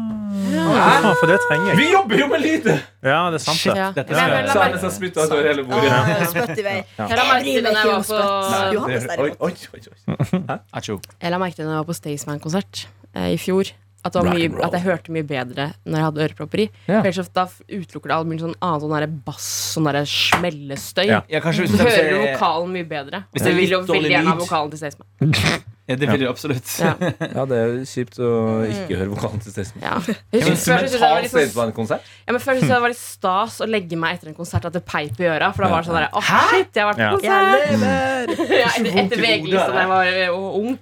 F: Ja, for det trenger jeg.
B: Vi jobber jo med lite!
F: Ja, det er sant,
C: Shit,
F: det.
C: dette
E: Ja,
C: skal
E: men la
B: Så er
E: meg-
B: det så spytta over hele bordet.
D: Ah, Spytt i vei.
E: Jeg la merke
D: bryr meg
E: til når
D: ikke
E: jeg
D: om
E: var
D: spøtt.
E: på
D: Johannes
B: Oi,
D: derimot.
B: oi, oi, oi.
C: Atsjo.
E: Jeg la merke til når jeg var på Staysman-konsert eh, i fjor. At, det var
B: Rock and
E: mye,
B: roll.
E: at jeg hørte mye bedre når jeg hadde ørepropper i.
B: Ja.
E: For ellers så- da f- utelukker det all mulig sånn annen sånn derre bass, sånn derre smellestøy.
F: Ja.
C: Ja, kanskje hvis
E: Du
C: de
E: hører jo
C: sier-
E: vokalen mye bedre.
C: Hvis det er
E: Jeg vil jo
C: litt dårlig
E: veldig gjerne ha
C: lyd.
E: vokalen til Staysman.
C: Ja, det vil jeg absolutt.
E: Ja.
B: Ja, det er jo kjipt å ikke høre vokalen til Staysman.
E: Ja. Jeg
B: Men
E: husker før så syntes jeg det var litt sånn
B: Staysman-konsert?
E: Ja, men Før syntes jeg det var litt stas å legge meg etter en konsert at det peip i øra. For da var det sånn der, åh, shit, jeg har vært på
F: Ja.
E: konsert ja,
C: Så
E: Etter,
C: vondt i
E: etter VG,
C: hodet,
E: liksom, da jeg var eh, ung.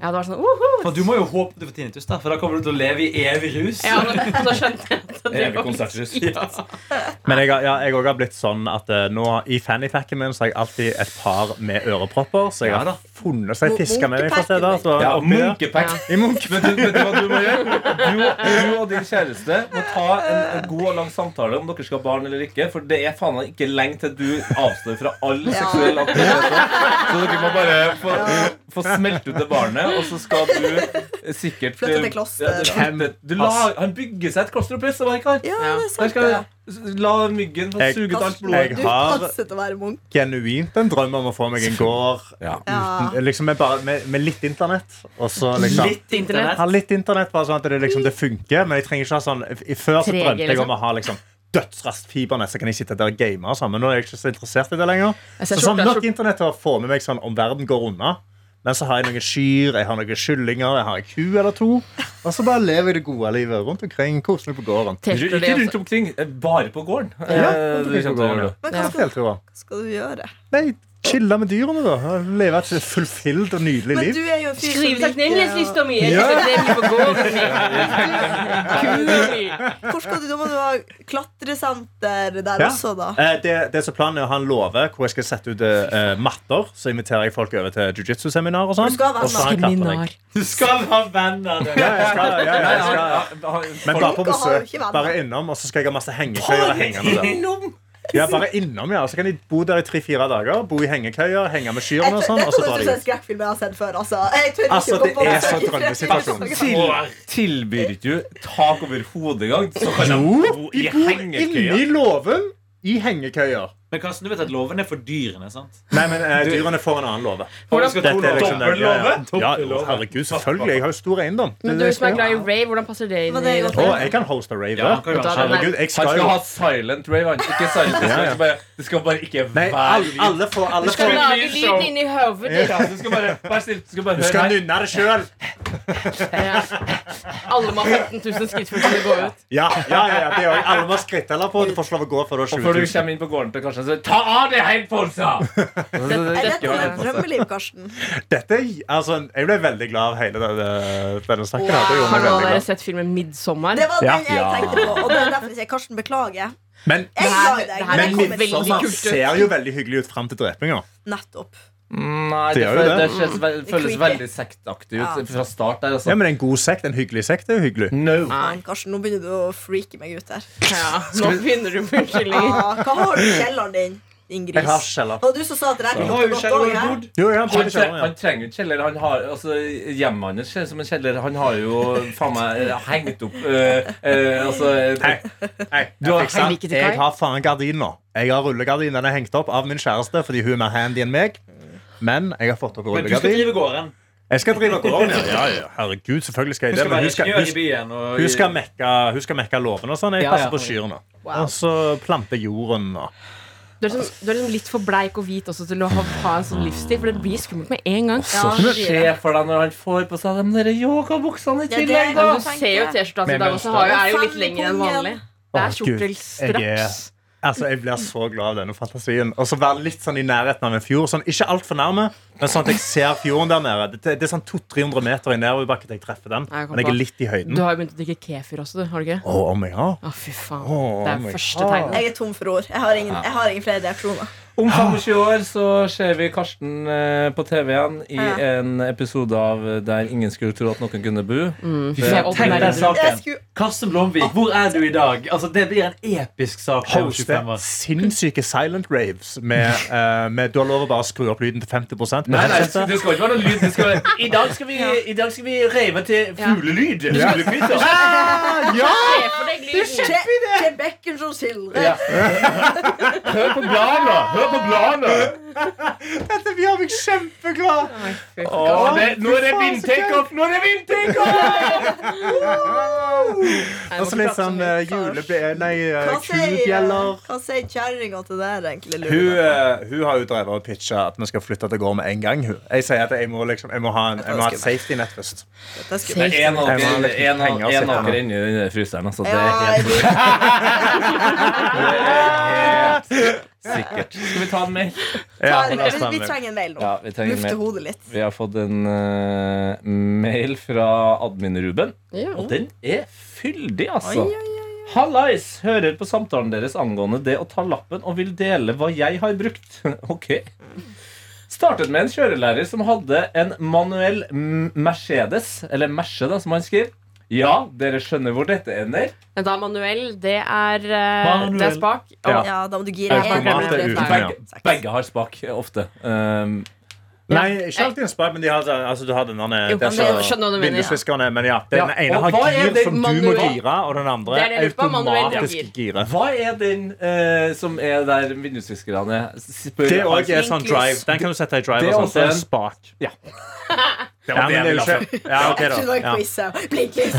E: Ja, det var sånn uhu.
C: For du må jo håpe du får tinnitus, da, for da kommer du til å leve i evig rus.
E: Ja, men da skjønte jeg at det
B: Evig
E: var litt
B: konserthus.
E: kjipt.
F: Men jeg, har- ja, jeg også har blitt sånn at eh, nå i fannypacken min så har jeg alltid et par med ørepropper. Så jeg
C: Ja,
F: har
C: da.
F: funnet Så jeg
D: Mo-
F: fisker med meg
D: munkepacken
F: fra steder. Så
B: Ja, og
F: oppi der.
B: munkepack.
E: Ja.
F: I munke-
B: Men du, vet du hva du må gjøre? Du, du og din kjæreste må ta en, en god og lang samtale om dere skal ha barn eller ikke. For det er faen meg ikke lenge til du avstår fra all seksuell aktivitet. Så dere må bare få, få smelt ut det barnet, og så skal du sikkert eh,
D: Flytte til kloster.
B: Ja, det- flytte- du la, han bygger seg et kloster oppi, så hva ikke han?
D: Ja, det er
B: Der
D: sant,
B: skal
D: det.
B: s- La myggen få
F: Jeg-
B: suge ut alt
F: Jeg
B: blodet.
D: Du
F: har-
D: passet å være munk.
F: Genuint en drøm om å få meg en gård
B: Ja.
D: Ja.
F: liksom med, bare, med, med litt internett. Og så liksom
C: Litt internett.
F: Ha litt internett, bare sånn at det, liksom, det funker. Men jeg trenger ikke ha sånn i- Før så
E: 3G,
F: drømte jeg
E: liksom.
F: om å ha liksom dødsraskt fibernett, så kan jeg sitte der og game. og sånn, Men nå er jeg ikke så interessert i det lenger.
E: Jeg
F: Så
E: ser
F: sånn
E: skjorta,
F: Nok
E: skjorta.
F: internett til å få med meg sånn om verden går unna. Men så har jeg noen kyr, jeg har noen kyllinger, jeg har en ku eller to. Og så bare lever jeg det gode livet rundt omkring. Koser meg på gården.
E: Testo
B: Ikke
E: det
B: rundt
E: også.
B: omkring, eh, bare på gården. Eh, du kommer til å gjøre det.
D: Men hva
E: Ja.
D: skal,
F: Deltro.
D: hva skal du gjøre?
F: Nei, chille med dyrene, da. Leve et fulfilled og nydelig
D: Men
F: liv.
D: du er jo en fyr som liker å-
E: Skriveteknikken mi! Jeg liker det vi får gå over i. Kua mi.
D: Hvor skal du? Da må du ha klatresenter der
F: Ja.
D: også, da.
F: Eh, det, det som planen er å ha en låve hvor jeg skal sette ut eh, matter. Så inviterer jeg folk over til jiu-jitsu-seminar og sånn.
D: Du skal ha
F: og så har jeg klatring.
E: Seminar.
C: Du skal ha venner. du.
F: Ja, jeg skal, ja, ja, jeg skal. Men bare på
D: Folk har jo
F: besøk.
D: ikke venner.
F: Bare innom, og så skal jeg ha masse hengekøyer hengende der.
B: Innom!
F: Ja, bare innom, ja. Og så kan de bo der i tre-fire dager. Bo i hengekøyer, henge med
D: Jeg
F: kyrne og
D: tror,
F: sånn,
D: det
F: og så
D: høres
F: drar
D: ut
F: de
D: som en
F: ut.
D: skrekkfilm. Jeg har sett før. Altså, jeg tør ikke
F: Altså,
D: å gå
F: det
D: på
F: er
D: besøk
F: så
D: i
F: drømmesituasjon.
D: fremtiden.
B: Til, tilbyr ikke du tak over hodet engang? Så kan de
F: Jo,
D: sånn-
B: bo
F: de
B: i
F: bor
B: hengekøya.
F: inni låven i hengekøyer.
C: Men Karsten, du vet at loven er for dyrene, sant?
F: Nei, men eh, dyrene får en annen låve.
C: Folk skal ha to
F: Dette er liksom
C: lover.
F: det- ja, ja.
B: Dobbel
F: Ja,
B: låve?
F: jo, herregud, selvfølgelig. Jeg har jo stor eiendom. Det er
E: Men
F: det
E: du
F: jeg
E: som
F: skal
E: er
F: gjøre.
E: glad i rave, hvordan passer det inn
D: Men det
E: i
D: er
F: Å,
D: godt.
F: jeg kan hoste rave.
C: Ja, han kan jo være sånn.
F: Herregud,
B: Han
F: jeg skal
B: skal
F: jo
B: ha silent rave. Han. Ikke silent det skal
F: Ja, ja.
B: ikke bare, Det skal bare ikke
F: Nei,
B: være
F: alle, alle får alle
E: Skal
F: får-
E: lage lyden inni hodet ditt.
B: Ja, Du skal bare Vær snill, du skal bare
F: Du skal
B: høre her.
F: nynne det sjøl!
E: Ja. Alle må ha 15 000 skritt før de går ut.
F: Ja, ja, ja, ja, det er jo- alle må ha skritteller på. Du får ikke lov å gå før du
B: Og
F: har 20
B: før du
F: 000.
B: kommer inn på gården til Karsten, så ta av deg heimposa!
D: Er
E: Dette-
D: dette
E: dette-
D: et drømmeliv, Karsten?
F: Dette, er- altså, jeg ble veldig glad av hele denne, denne snakken. her. Det gjorde
E: Har
F: meg
E: noen av dere
F: veldig glad.
E: sett filmen 'Midtsommer'?
D: Det var
F: Ja.
D: den jeg tenkte på. Og det er derfor jeg sier Karsten, beklager.
F: Men,
D: Jeg er glad i deg.
E: Det her-
D: Men
E: det her
F: men
D: jeg
E: kom
D: kommer
E: veldig
D: ikke
F: midtsommer
E: kult ut.
F: ser jo veldig hyggelig ut fram til drepinga.
D: Nettopp.
B: Nei,
F: Det
B: det,
F: er jo
B: føles,
F: det.
B: det kjennes ve- føles
D: Creepy.
B: veldig sektaktig
D: Ja.
B: ut fra start der,
F: Ja,
B: altså.
F: men en god sekt, en hyggelig sekt, er jo hyggelig.
B: No.
D: Faen, Karsten, nå begynner du å freake meg ut her.
E: Ja, nå begynner du med unnskyldninger.
D: Ah, hva har du i kjelleren din? din
F: Jeg har
D: gris.
F: kjeller.
D: Og du som sa at det der
C: Du har
D: kunne
C: jo
D: gått over
C: kjeller
D: her.
C: og bod.
F: Jo, jeg har
B: Han,
F: både
B: tre,
F: kjeller,
B: han trenger jo ikke kjeller. Han har, altså, hjemmet hans ser ut som en kjeller. Han har jo faen meg eh, hengt opp eh, eh, altså,
F: Hei, hei,
B: Du har
F: jeg fikser
E: Henrik til
F: den.
E: Kai.
F: Jeg har faen gardiner. Jeg har rullegardinene hengt opp av min kjæreste fordi hun er mer handy enn meg. Men jeg har fått opp
C: Men du skal
F: rullegardin.
C: drive gården.
F: Jeg skal drive korona. Ja, ja, herregud, selvfølgelig skal
C: Du
F: jeg det.
C: skal
F: Men
C: være
F: hun skal,
C: ingeniør i
F: hun,
C: byen. Og,
F: hun skal mekke, hun skal mekke låven og sånn. Jeg
C: Ja, ja.
F: passer på kyrne. Og så plante jorden og
E: Du er, liksom, du er liksom litt for bleik og hvit også til å ha, ha en sånn livsstil, for det blir skummelt med en gang.
D: Ja,
B: Men
D: det
B: Se for deg når han får på seg de der yogabuksene i
D: Ja, det-
B: tillegg, da!
E: Du ser jo T-skjorta hans i
F: Med
E: dag også,
F: mønster.
E: har jo, er jo litt lengre enn vanlig. Det
F: Å,
E: er kjortel
F: Gud, jeg er-
E: straks.
F: Altså, Jeg blir så glad av denne fantasien. Og så være litt sånn i nærheten av en fjord. Sånn, ikke altfor nærme, men sånn at jeg ser fjorden der nede. Det, det er sånn 200-300 meter i nedoverbakke til jeg treffer den.
E: Nei, jeg kom
F: Men jeg
E: på.
F: er litt i høyden.
E: Du har jo begynt å drikke kefir også, du. Har du ikke?
F: Å, om jeg har?
E: Å, fy faen.
F: Å,
E: Det
F: my
E: er første
F: God.
E: tegnet.
D: Jeg er tom for ord. Jeg har ingen, jeg har ingen flere reaksjoner.
B: Om 25 år så ser vi Karsten eh, på TV igjen i
D: Ja.
B: en episode av Der ingen skulle tro at noen kunne bo.
E: Jeg
C: Tenk
E: åpner
C: den
E: den.
D: Jeg
C: saken.
D: skulle
C: Karsten Blomvik, hvor er du i dag? Altså, det blir en episk sak. om 25
F: Hoste
C: år.
F: sinnssyke silent raves med, eh, med Du har lov å bare skru opp lyden til 50 med
B: det
D: altså.
F: headsetet.
B: skal ikke være noe lyd. I dag skal vi, reve til fuglelyd.
F: Ja.
E: Se for deg lyden.
D: til bekken som sildrer.
B: Hør på bladene! Hør på bladene!
F: Dette gjør meg kjempeglad!
B: nå er det vindtakeoff! Nå er det
E: Nei, jeg må ikke
F: Og så litt
E: prate så
F: sånn
E: mye.
F: eh, juleble... Nei, eh,
D: Hva sier,
F: kubjeller.
D: hva sier kjerringa til det her, egentlig? lurer
F: Hun,
D: jeg på.
F: eh, hun har jo drevet og pitcha at vi skal flytte til gård med en gang. Hun. Jeg sier at jeg må, liksom, jeg må, ha, en, jeg må ha et safety net først.
D: Dette er skummelt.
B: En
F: Jeg må ha litt penger å sette
B: aker
F: meg.
B: inni den der fryseren. Altså, det er
D: Ja, jeg
B: helt,
D: blir-
B: sikkert. Skal vi ta en mail?
F: Ja,
D: vi,
F: la oss ta
D: vi
F: med det.
D: trenger en mail nå.
B: Ja, vi trenger en
D: Lufte
B: mail.
D: hodet litt.
B: Vi har fått en eh, mail fra admin-Ruben.
E: Ja.
B: Og den er fyldig, altså. Hallais! Hører på samtalen deres angående det å ta lappen og vil dele hva jeg har brukt. ok. Startet med en kjørelærer som hadde en manuell M- Mercedes, eller Merce, da, som han skriver. Ja, dere skjønner hvor dette ender.
E: Men Da manuell, det er eh,
C: Manuell.
E: Det er spak. Og
F: Ja.
D: Ja, da må du gire.
E: Automat
D: En,
E: er
D: to, tre,
E: uten,
D: fire,
F: ja.
D: fem, seks.
B: Begge har spak, eh, ofte. Um,
F: Nei, ikke alltid en spark, men de har, altså, du har den der
E: Jo,
F: det er
E: men jeg
F: så-
E: skjønner hva du mener, ja.
F: vindusviskerne. Men ja, den
B: Ja,
F: ene
B: og
F: har
B: hva er
F: gir
B: det
F: som du må
E: manuell-
F: gire, og den andre
E: Det er det jeg lurer på, manuell gir.
F: automatisk gire.
B: hva er den eh, som er der vindusviskerne spør
F: Det òg er
B: altså,
F: sånn drive. Den kan du sette i drive.
B: Det er
F: og
B: også
F: sånt. Det er en
B: en-
F: spark.
B: Ja.
F: Ja, men det er jo ikke ja, ok
D: Jeg
F: da.
D: trodde det var
F: Ja.
D: quiz. ja. Blinklys.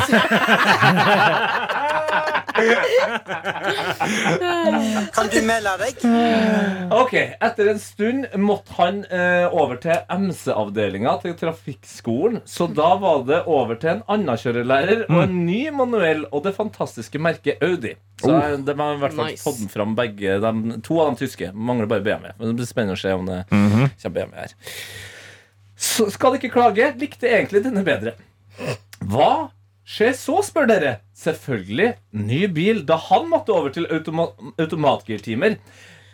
I: Kan du melde deg?
B: Ok, Etter en stund måtte han eh, over til MC-avdelinga til Trafikkskolen. Så da var det over til en annen kjørelærer og en ny manuell og det fantastiske merket Audi. Så
F: Oh.
B: eh, de har i hvert fall
E: Nice.
B: fått fram begge de, To av de tyske. Mangler bare BMW. Men det blir spennende å se om det kommer BMW her. Så skal ikke klage. Likte egentlig denne bedre. Hva skjer så, spør dere? Selvfølgelig ny bil da han måtte over til automa automatgirtimer.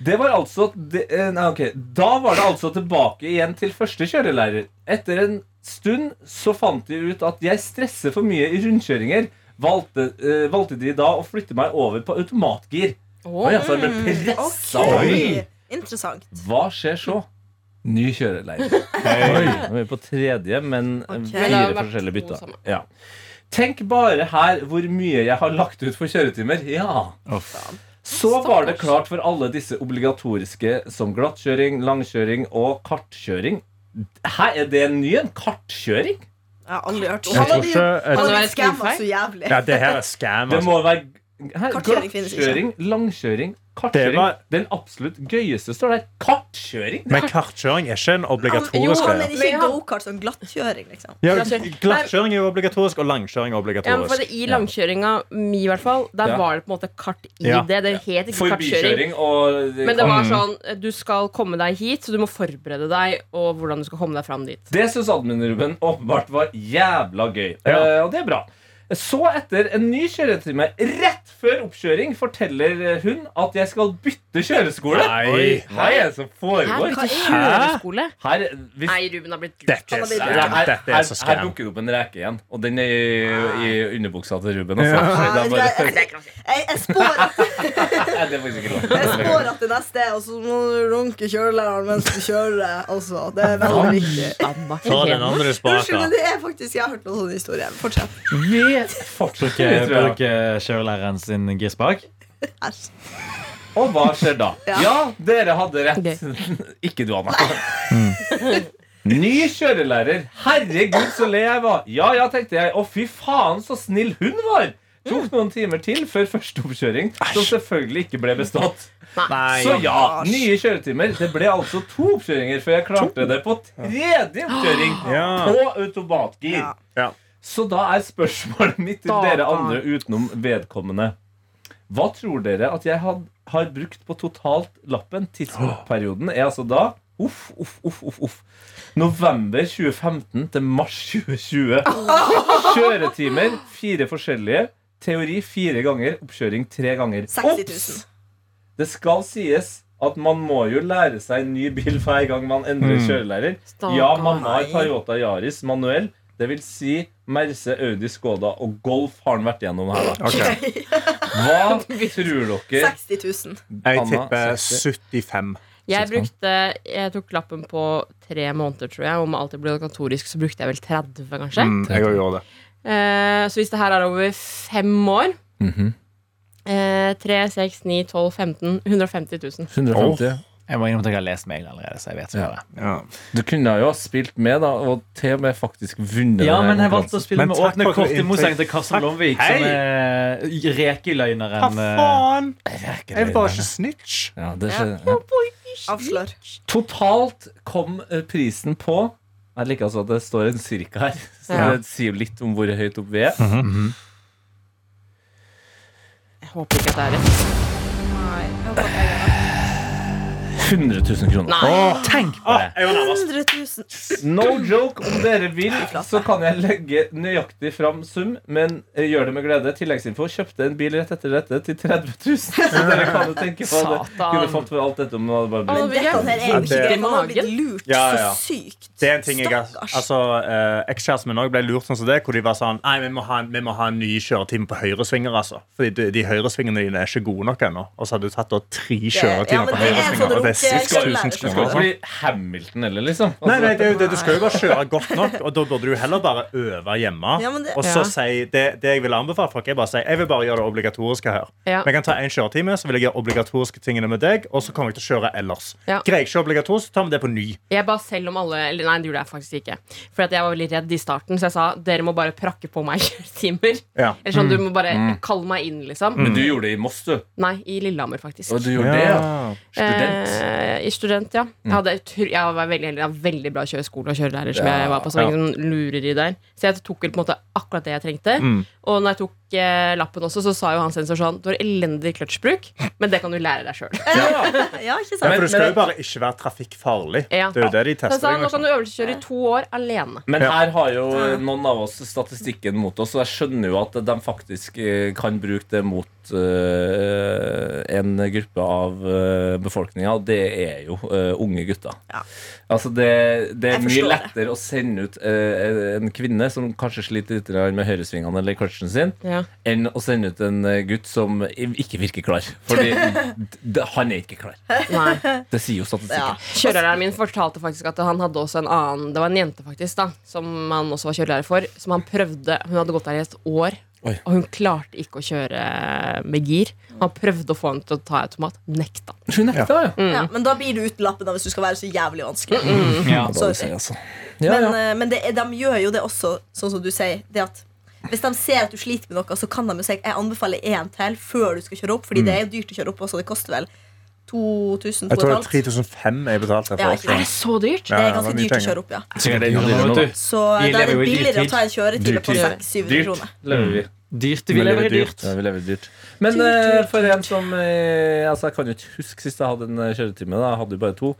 B: Det var altså det, eh, nei, ok. Da var det altså tilbake igjen til første kjørelærer. Etter en stund så fant de ut at jeg stresser for mye i rundkjøringer. Valgte, eh, valgte de da å flytte meg over på automatgir.
E: Å,
B: Oi, altså, jeg ble presset over.
D: Oi. Interessant.
B: Hva skjer så? Ny kjørelærer. Oi, Nå er vi på tredje, men
D: Ok.
E: Men det
B: fire
E: har vært
B: forskjellige
E: to
B: bytter.
E: sammen.
B: Ja. Tenk bare her hvor mye jeg har lagt ut for kjøretimer. Ja. Så var det klart for alle disse obligatoriske som glattkjøring, langkjøring og kartkjøring. Her er det en ny en. Kartkjøring?
D: Jeg har aldri hørt om
F: Jeg tror ikke
D: Han
E: Kan
D: hadde
E: Altså, det være
D: blitt
E: et
D: skamma
E: skrivefeil?
D: så jævlig.
F: Ja, det her er scam.
B: Det
F: Altså.
B: må være her,
D: Kartkjøring finnes ikke.
B: Glattkjøring, langkjøring,
F: Det
B: kartkjøring.
F: var-
B: Den absolutt gøyeste står der. Kartkjøring?
F: Men kartkjøring er ikke en
D: Jo,
F: obligatorisk
D: han
F: greie.
D: er
E: Men
D: ikke
E: ja.
D: gokart som glattkjøring, liksom.
F: Ja,
E: Glattkjøring.
F: glattkjøring er jo obligatorisk, og langkjøring er
E: Ja, men for det,
F: obligatorisk.
E: I langkjøringa mi, i hvert fall, der
B: Ja.
E: var det på en måte kart i
F: Ja.
E: det. Det het ikke
B: Forbikjøring
E: kartkjøring.
B: og
E: Men det var sånn du skal komme deg hit, så du må forberede deg og hvordan du skal komme deg fram dit.
B: Det syns admin-Ruben åpenbart var jævla gøy.
F: Ja.
B: Eh, og det er bra. Så, etter en ny kjøretime rett før oppkjøring, forteller hun at jeg skal bytte kjøreskole.
F: Nei.
B: Oi, hva er det som
E: Her,
B: foregår?
E: hva er kjøreskole?
B: Her, hvis,
E: Nei, Ruben har blitt
F: Dette
B: her,
D: Han er
F: er scam.
B: her,
F: Dette er
B: her,
F: så
B: her
F: scam.
B: dukker det opp en reke igjen, og den er i, i underbuksa til Ruben. Altså.
D: Ja,
B: Det er bare-
D: Jeg, jeg spår at
B: Nei, det er faktisk ikke lov.
D: Jeg spår at det neste er Og så må du runke kjølelæreren mens du kjører. Altså, det er veldig viktig.
F: Ta den andre
D: Unnskyld,
F: spaken.
D: men det er faktisk Jeg har hørt noen sånne historier. Fortsett.
F: Eh,
C: Bruker bruker kjørelæreren sin girspak.
D: Æsj.
B: Og hva skjer da? Ja,
D: Ja.
B: dere hadde rett. Ikke du, Anna. Mm. Ny kjørelærer. Herregud, så le jeg var. Ja, ja, tenkte jeg. Å, fy faen, så snill hun var. Tok noen timer til før første oppkjøring, som selvfølgelig ikke ble bestått. Så ja, nye kjøretimer. Det ble altså to oppkjøringer før jeg klarte det på tredje oppkjøring
F: Ja.
B: på automatgir.
D: Ja.
F: Ja.
B: Så da er spørsmålet mitt til
E: Da,
B: dere
E: da.
B: andre utenom vedkommende. Hva tror dere at jeg had, har brukt på totalt lappen? Tidsperioden er altså da Uff, uff, uff, uff, uff. November 2015 til mars 2020. Kjøretimer fire forskjellige. Teori fire ganger, oppkjøring tre ganger.
D: 60
B: Ops!
D: 000.
B: Det skal sies at man må jo lære seg en ny bil hver gang man endrer
C: Mm.
B: kjørelærer.
E: Stakkars.
B: Ja, mamma har Toyota Yaris manuell. Det vil si Merce, Audi, Skoda og Golf har han vært gjennom her. da Hva tror dere?
D: 60 000.
F: Jeg
B: Anna,
F: tipper
B: 60.
F: 75.
E: Jeg brukte, jeg tok lappen på tre måneder, tror jeg. Om alt det ble obligatorisk, så brukte jeg vel 30, kanskje.
F: Mm, jeg òg gjorde det.
E: Eh, så hvis det her er over fem år
B: Mhm.
E: eh, 3, 6, 9, 12, 15 150 000.
B: 150.
C: Jeg må innrømme at jeg har lest mailen allerede. Så jeg vet ikke hva det er.
F: Ja.
B: Du kunne jo ha spilt med, da, og til og med faktisk vunnet.
C: Ja,
B: denne
C: men jeg
B: konkurransen.
C: valgte å spille
F: Men
C: med
F: takk
C: åpne
F: for at du
C: kort i motsetning til
F: inntrykk.
C: Karsten
F: Takk.
C: Lomvik,
F: Hei!
C: som er
F: Hva
C: rekeløgneren. eh,
F: faen? Jeg var ikke snitch.
B: ja, det skjer, ja.
D: Avslør.
B: Totalt kom eh, prisen på Jeg liker altså at det står en cirka her. Så
E: Ja.
B: Det sier jo litt om hvor høyt opp vi er.
C: Mhm.
E: Jeg håper ikke at det er rett.
B: 100 000 kroner.
C: Tenk på det!
D: 100 000.
B: No joke, om dere vil, så kan jeg legge nøyaktig fram sum, men eh, gjør det med glede. Tilleggsinfo. Kjøpte en bil rett etter dette til 30 000. Så dere kan jo tenke på det. Kunne
E: Satan.
B: fått for alt dette om man hadde bare blitt
E: Å,
D: Men dette her er jo
F: Ja,
D: ikke
F: det-
D: greit. Man har blitt lurt
F: Ja, ja.
D: så sykt.
F: Det er en ting jeg har
D: Stakkars.
F: Altså, eh, Ekskjæresten min også ble lurt sånn som det, hvor de var sånn Nei, vi må ha, vi må ha en ny kjøretime på høyresvinger, altså. Fordi de, de høyresvingene dine er ikke gode nok ennå. Og så hadde du tatt da tre
D: ja, men
F: kjøretimer på
D: det er sånn
F: høyresvinger, og det er
D: runke-
F: 6000
B: Du skal jo
F: kroner.
B: ikke
F: altså.
B: bli Hamilton heller, liksom. Altså,
F: Nei, nei, det er jo det, Du skal jo bare kjøre godt nok, og da burde du heller bare øve hjemme.
D: Ja, men det-
F: og så
E: Ja.
F: si det, det jeg vil anbefale folk, er bare å si jeg vil bare gjøre det obligatoriske her.
E: Ja.
F: Vi kan ta en kjøretime, så vil jeg gjøre obligatoriske tingene med deg, og så kommer jeg til å kjøre ellers.
E: Ja.
F: Greier jeg ikke obligatorisk, så tar vi det på ny.
E: Jeg ba selv om alle eller Nei, det gjorde jeg faktisk ikke. For at jeg var veldig redd i starten, så jeg sa dere må bare prakke på meg kjøretimer.
F: Ja.
E: Eller sånn,
B: Mm.
E: du må bare kalle meg inn, liksom.
B: Men du gjorde det i Moss, du.
E: Nei, i Lillehammer, faktisk.
B: Mm. Og du gjorde det, ja. Student. Mm.
E: Eh, i student, ja. Jeg, hadde, utro- jeg var veldig heldig. Jeg hadde veldig bra kjøreskole og kjørelærer. Som
B: Ja,
E: jeg var på, så
F: ja.
E: var ingen sånn lureri der Så jeg tok vel på en måte akkurat det jeg trengte.
B: Mm.
E: Og når jeg tok eh, lappen også, så sa jo han sensor sånn Du har elendig kløtsjbruk, men det kan du lære deg sjøl.
D: Ja, ikke
F: Ja,
D: sant?
F: for
B: Men-
F: du skal
B: men-
F: jo bare ikke være trafikkfarlig.
E: Ja.
F: Det er jo det de
E: Han
F: tester. sånn-
E: sa
F: deg
E: nå
F: med.
E: kan du øvelseskjøre i to år alene.
B: Men
F: Ja.
B: her har jo eh, noen av oss statistikken mot oss, og jeg skjønner jo at de faktisk eh, kan bruke det mot eh, en gruppe av eh, befolkninga, og det er jo eh, unge gutter.
D: Ja.
B: Altså det, det
D: Jeg
B: er mye
D: forstår det.
B: lettere å sende ut eh, en kvinne som kanskje sliter litt grann med høyresvingene eller kløtsjen sin,
E: Ja.
B: enn å sende ut en eh, gutt som ikke virker klar. Fordi d- d- han er ikke klar.
E: Nei.
B: Det sier jo
D: Ja.
B: statistikken.
E: Kjørelæreren min fortalte faktisk at han hadde også en annen Det var en jente faktisk da som han også var kjørelærer for. Som han prøvde Hun hadde gått der i et år,
B: Oi.
E: og hun klarte ikke å kjøre med gir. Han prøvde å få henne til å ta i automat. Nekta.
B: Hun nekta, ja.
D: Ja, Mm. men da blir du uten lappen da, hvis du skal være så jævlig vanskelig.
C: mm. Ja.
B: Hva
D: Sorry.
B: du sier, altså. Ja,
D: Men,
B: ja.
D: eh, men det, er- de gjør jo det også, sånn som du sier. Det at hvis de ser at du sliter med noe, så kan de jo si jeg anbefaler én til før du skal kjøre opp. Fordi det er jo dyrt å kjøre opp også. Det koster vel 2000
F: Jeg Mm. tror det er
D: 2500.
F: 3005 jeg betalte
D: sånn Ja,
F: for.
D: ikke
E: Er det så dyrt?
D: Det
F: Ja,
D: er
F: det var
D: ganske
F: mye
D: dyrt å
F: penger.
D: kjøre opp, ja.
C: Sikkert det er dyrere nå, vet du.
D: Så eh,
C: Vi
D: da er det
C: lever jo i
D: billigere å
C: dyrtid.
D: ta en kjøretime på
B: Dyrtid.
D: 600-700
B: Dyrt
D: kroner.
B: lever vi.
C: Mm. Dyrt. Vi lever i dyrt.
B: Ja, vi lever dyrt. Men eh, for en som eh, altså, Jeg kan jo ikke huske sist jeg hadde en eh, kjøretime. Da. Jeg hadde jo bare to.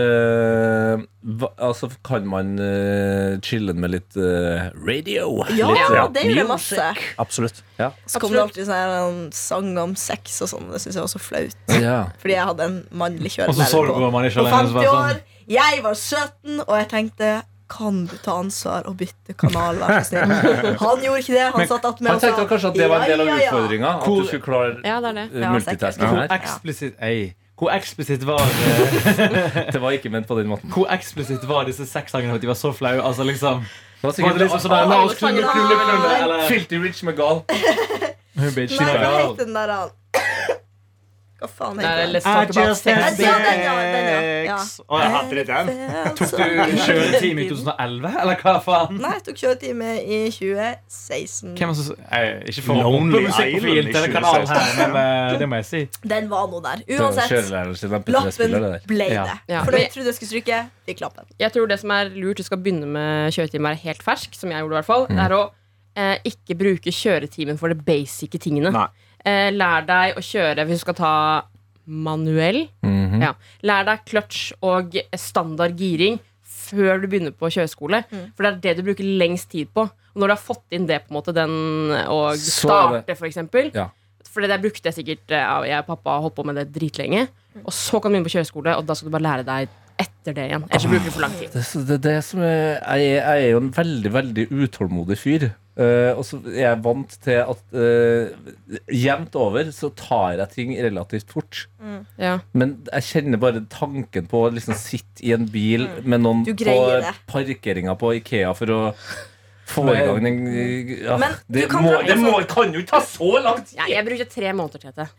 B: Eh, hva, altså, kan man eh, chille med litt eh, radio?
D: Ja,
B: litt, eh,
D: det gjør jeg
B: music?
D: masse.
F: Absolutt.
B: Ja.
D: Så kom det alltid sånn her, en sang om sex og sånn. Det syns jeg var så flaut.
B: Ja.
D: Fordi jeg hadde en mannlig
C: Og så
D: kjørelærer
C: så du hvor
D: på,
C: man ikke
D: på
C: alene som
D: 50
C: var sånn.
D: år. Jeg var 17, og jeg tenkte Kan du ta ansvar og bytte kanal, vær så snill? Han gjorde ikke det. Han satt attmed
B: Han
D: og sa
B: tenkte kanskje at det var en del av
D: altså, ja, ja, ja.
B: utfordringa. At
C: Hvor-
B: du skulle klare
E: Ja, det er det.
B: eh,
D: Ja,
B: multitasking
C: Hvor
B: her.
C: eksplisitt ei, Hvor eksplisitt var det
B: Det var ikke ment på den måten.
C: Hvor eksplisitt var disse sexsangene at de var så flaue? Altså liksom
B: Det var
C: Var
B: sikkert
C: det liksom
B: litt
C: sånn der, La oss knulle, knulle, knulle
B: sånn
C: Eller
B: Filty Rich med gal.
C: Hun bitch,
D: Nei, hva
C: no.
D: heter den der han? Hva faen
E: Det er
D: heter den?
E: let's talk about
D: had
E: sex.
D: Ja, den, ja, den, ja. Ja.
F: Sex. Å, jeg hadde det den.
D: Tok
C: Du kjører en time i 2011, eller hva faen?
D: Nei, jeg tok kjøretime i 2016.
C: Hvem er det som Nei, Ikke for å
F: Lonely
C: hoppe musikk på
F: Island i
C: fiendtelekanalen her,
F: 2016.
C: men eh, det må jeg si.
D: Den var nå der. Uansett,
B: Kjørelæreren sin er
D: lappen
B: P3-spiller, det der.
D: ble
C: Ja.
D: det.
E: Ja.
D: For da
E: Men-
D: jeg trodde jeg skulle stryke, fikk lappen.
E: Jeg tror det som er lurt, du skal begynne med kjøretimer helt fersk, som jeg gjorde i hvert fall, er å eh, ikke bruke kjøretimen for de basice tingene.
F: Nei.
E: Eh, lær deg å kjøre hvis du skal ta manuell.
B: Mm.
E: ja. Lær deg clutch og standard giring før du begynner på kjøreskole. For det er det du bruker lengst tid på. Og når du har fått inn det, på en måte, den og
B: Så er
E: starte,
B: det-
E: for eksempel.
B: Ja.
E: For det der brukte jeg sikkert eh, av- Jeg og pappa har holdt på med det dritlenge. Og så kan du begynne på kjøreskole, og da skal du bare lære deg etter det igjen. Ellers så bruker du for lang tid.
B: Det, er- det er det som er, jeg, er- jeg er jo en veldig, veldig utålmodig fyr. Eh, og så er jeg vant til at eh, jevnt over så tar jeg ting relativt fort.
E: Ja.
B: Men jeg kjenner bare tanken på å liksom sitte i en bil med noen
D: Mm. Du
B: på
D: greier det.
B: parkeringa på Ikea for å få i
C: Men-
B: gang den ja,
D: Men du
B: det,
D: kan
B: må,
D: dra- sånn-
B: det må, kan jo ikke ta så lang tid!
E: Ja, jeg brukte tre måneder til dette.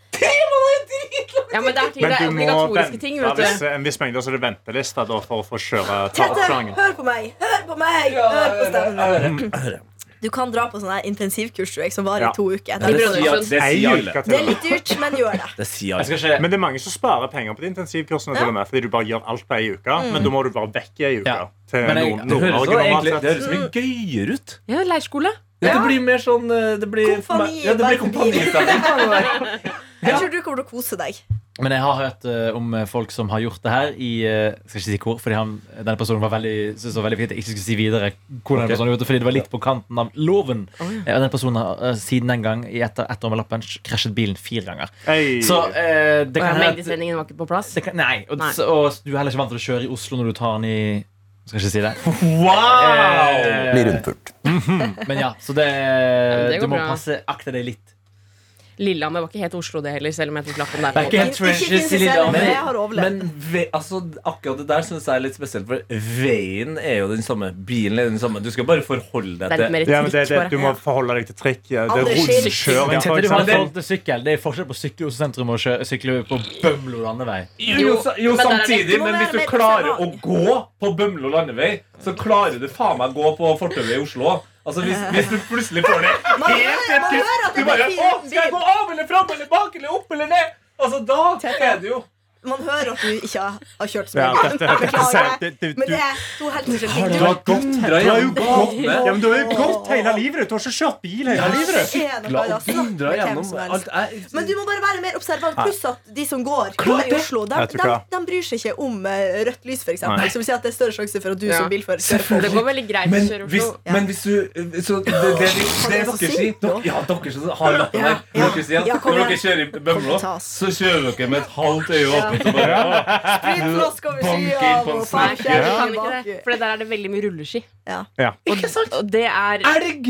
E: Ja, men det er, ting,
F: Men
E: det er
F: du må
E: obligatoriske
F: vente
E: ting.
F: av
E: Vet du.
F: visse- en viss mengde, så er det venteliste da, for å få kjøre
D: Tete,
F: tapsangen.
D: hør på meg! Hør på meg! Hør på stemmen min. Du kan dra på sånn her intensivkurs tror jeg, som varer
F: Ja.
D: i to uker.
B: Det sier,
E: Brønnøysund.
B: det sier alle.
D: Det er litt dyrt, men gjør det.
B: Det sier
C: Jeg
B: alle.
C: skal ikke
F: Men det er mange som sparer penger på de intensivkursene.
D: Ja.
F: til og med, Fordi du bare gjør alt på ei uke. Men da må du være vekk i ei uke.
C: Ja.
F: Til
C: Men jeg-
F: Nord-
B: Det høres
F: Nord-Norge
B: jo
F: normalt
B: egentlig
F: sett.
B: det høres mye gøyere ut.
E: Ja, leirskole.
B: Ja, det blir mer sånn eh, Det blir for meg-
D: Kompani,
B: ja, det blir
D: bare forbi.
B: kompanistandard.
D: Jeg tror du kommer til å kose deg.
C: Men jeg har hørt eh, om eh, folk som har gjort det her i eh, Skal ikke si hvor, fordi han, denne personen var veldig, syntes det var veldig fint at jeg ikke skulle si videre hvordan
B: Ok.
C: denne personen gjorde det, fordi det var litt på kanten av loven. Eh, Og den personen har eh, siden den gang, i etter ett år med lappen, krasjet bilen fire ganger.
F: Ei.
C: Så eh, det kan hende at-
E: Mengdesendingen var ikke på plass.
C: det kan, Nei. Og,
E: Nei.
C: Så, og du er heller ikke vant til å kjøre i Oslo når du tar den i Skal ikke si det.
B: Wow!
C: Blir rundpult. Men ja, så det,
E: det går
C: Du må
E: bra.
C: passe akte deg litt.
E: Lillehammer var ikke helt Oslo det heller, selv om jeg tok lappen der.
C: Det er ikke helt
D: Ikke
C: trenches i
D: kritisere meg,
C: Lillehammer.
D: jeg har overlevd.
B: Men ve altså, akkurat det der syns jeg er litt spesielt, for veien er jo den samme. Bilen er den samme. Du skal bare forholde
E: Det er
B: deg
E: litt
B: til
E: mer
F: ja, men det,
E: trikk,
F: det,
E: bare.
F: du må forholde deg til trikk. Ja. Det er
D: Aldri skyld.
F: rundkjøring. for
C: Tete, du har
F: eksempel.
C: forhold til sykkel. Det er forskjell på å sykle i Oslo sentrum og kjø- sykle på Bømlo landevei.
B: Jo, sa- jo
E: men der er det-
B: samtidig,
D: det må
B: men
D: være
B: hvis du
D: mer
B: klarer å
D: observant.
B: gå på Bømlo landevei, så klarer du faen meg gå på fortauet i Oslo. Altså hvis, hvis du plutselig får det
D: Man
B: helt
D: hører- man
B: helt-
D: hører at
B: Du
D: det
B: bare
D: blir
B: Å,
D: fin
B: skal jeg gå av eller fram eller bak eller opp eller ned? Altså, da er det jo
D: Man hører at du ikke har- har kjørt så
F: Ja,
D: mye.
F: dette- dette-
D: Beklager.
F: det- det-
D: Men
F: du-
D: det er to helt forskjellige
B: Du
D: ting.
B: har gått
F: Du har jo gått,
B: med.
F: ja, men du har jo gått hele livet, du. Du har ikke kjørt bil hele livet. du.
D: Sykla
B: og dundra gjennom alt. Jeg-
D: Men du må bare være mer observant. Pluss at de som går, går i Oslo, de,
F: Jeg
D: de,
F: tror ikke
D: de bryr seg ikke om eh, rødt lys, f.eks.
F: Nei.
D: Som vil si at det er større sjanse for at du
E: Ja.
D: som bilfører kjører på.
E: Det går veldig greit å
B: Men
E: kjøre
B: hvis,
E: Oslo.
D: Ja.
B: men hvis du eh, så det, det, det, det
D: er
B: dere
D: så
B: sier
D: sykt,
B: dere,
D: da.
B: Ja, dere som har lappen
D: Ja,
B: her. Dere
D: ja,
B: sier
D: ja,
B: at
D: kom
B: når dere
D: igjen.
B: kjører i Bømlo,
D: ta oss.
B: så kjører dere med et halvt øye åpent. og bare, «Å,
D: Spritflaske over
B: Bank
D: siden
B: inn på en
D: og
E: Nei,
B: snap.
D: faen,
E: du kan
D: kjære
E: ikke det,
D: tilbake.
E: for der er det veldig mye rulleski.
B: Ikke sant?
E: Og det er
B: Elg!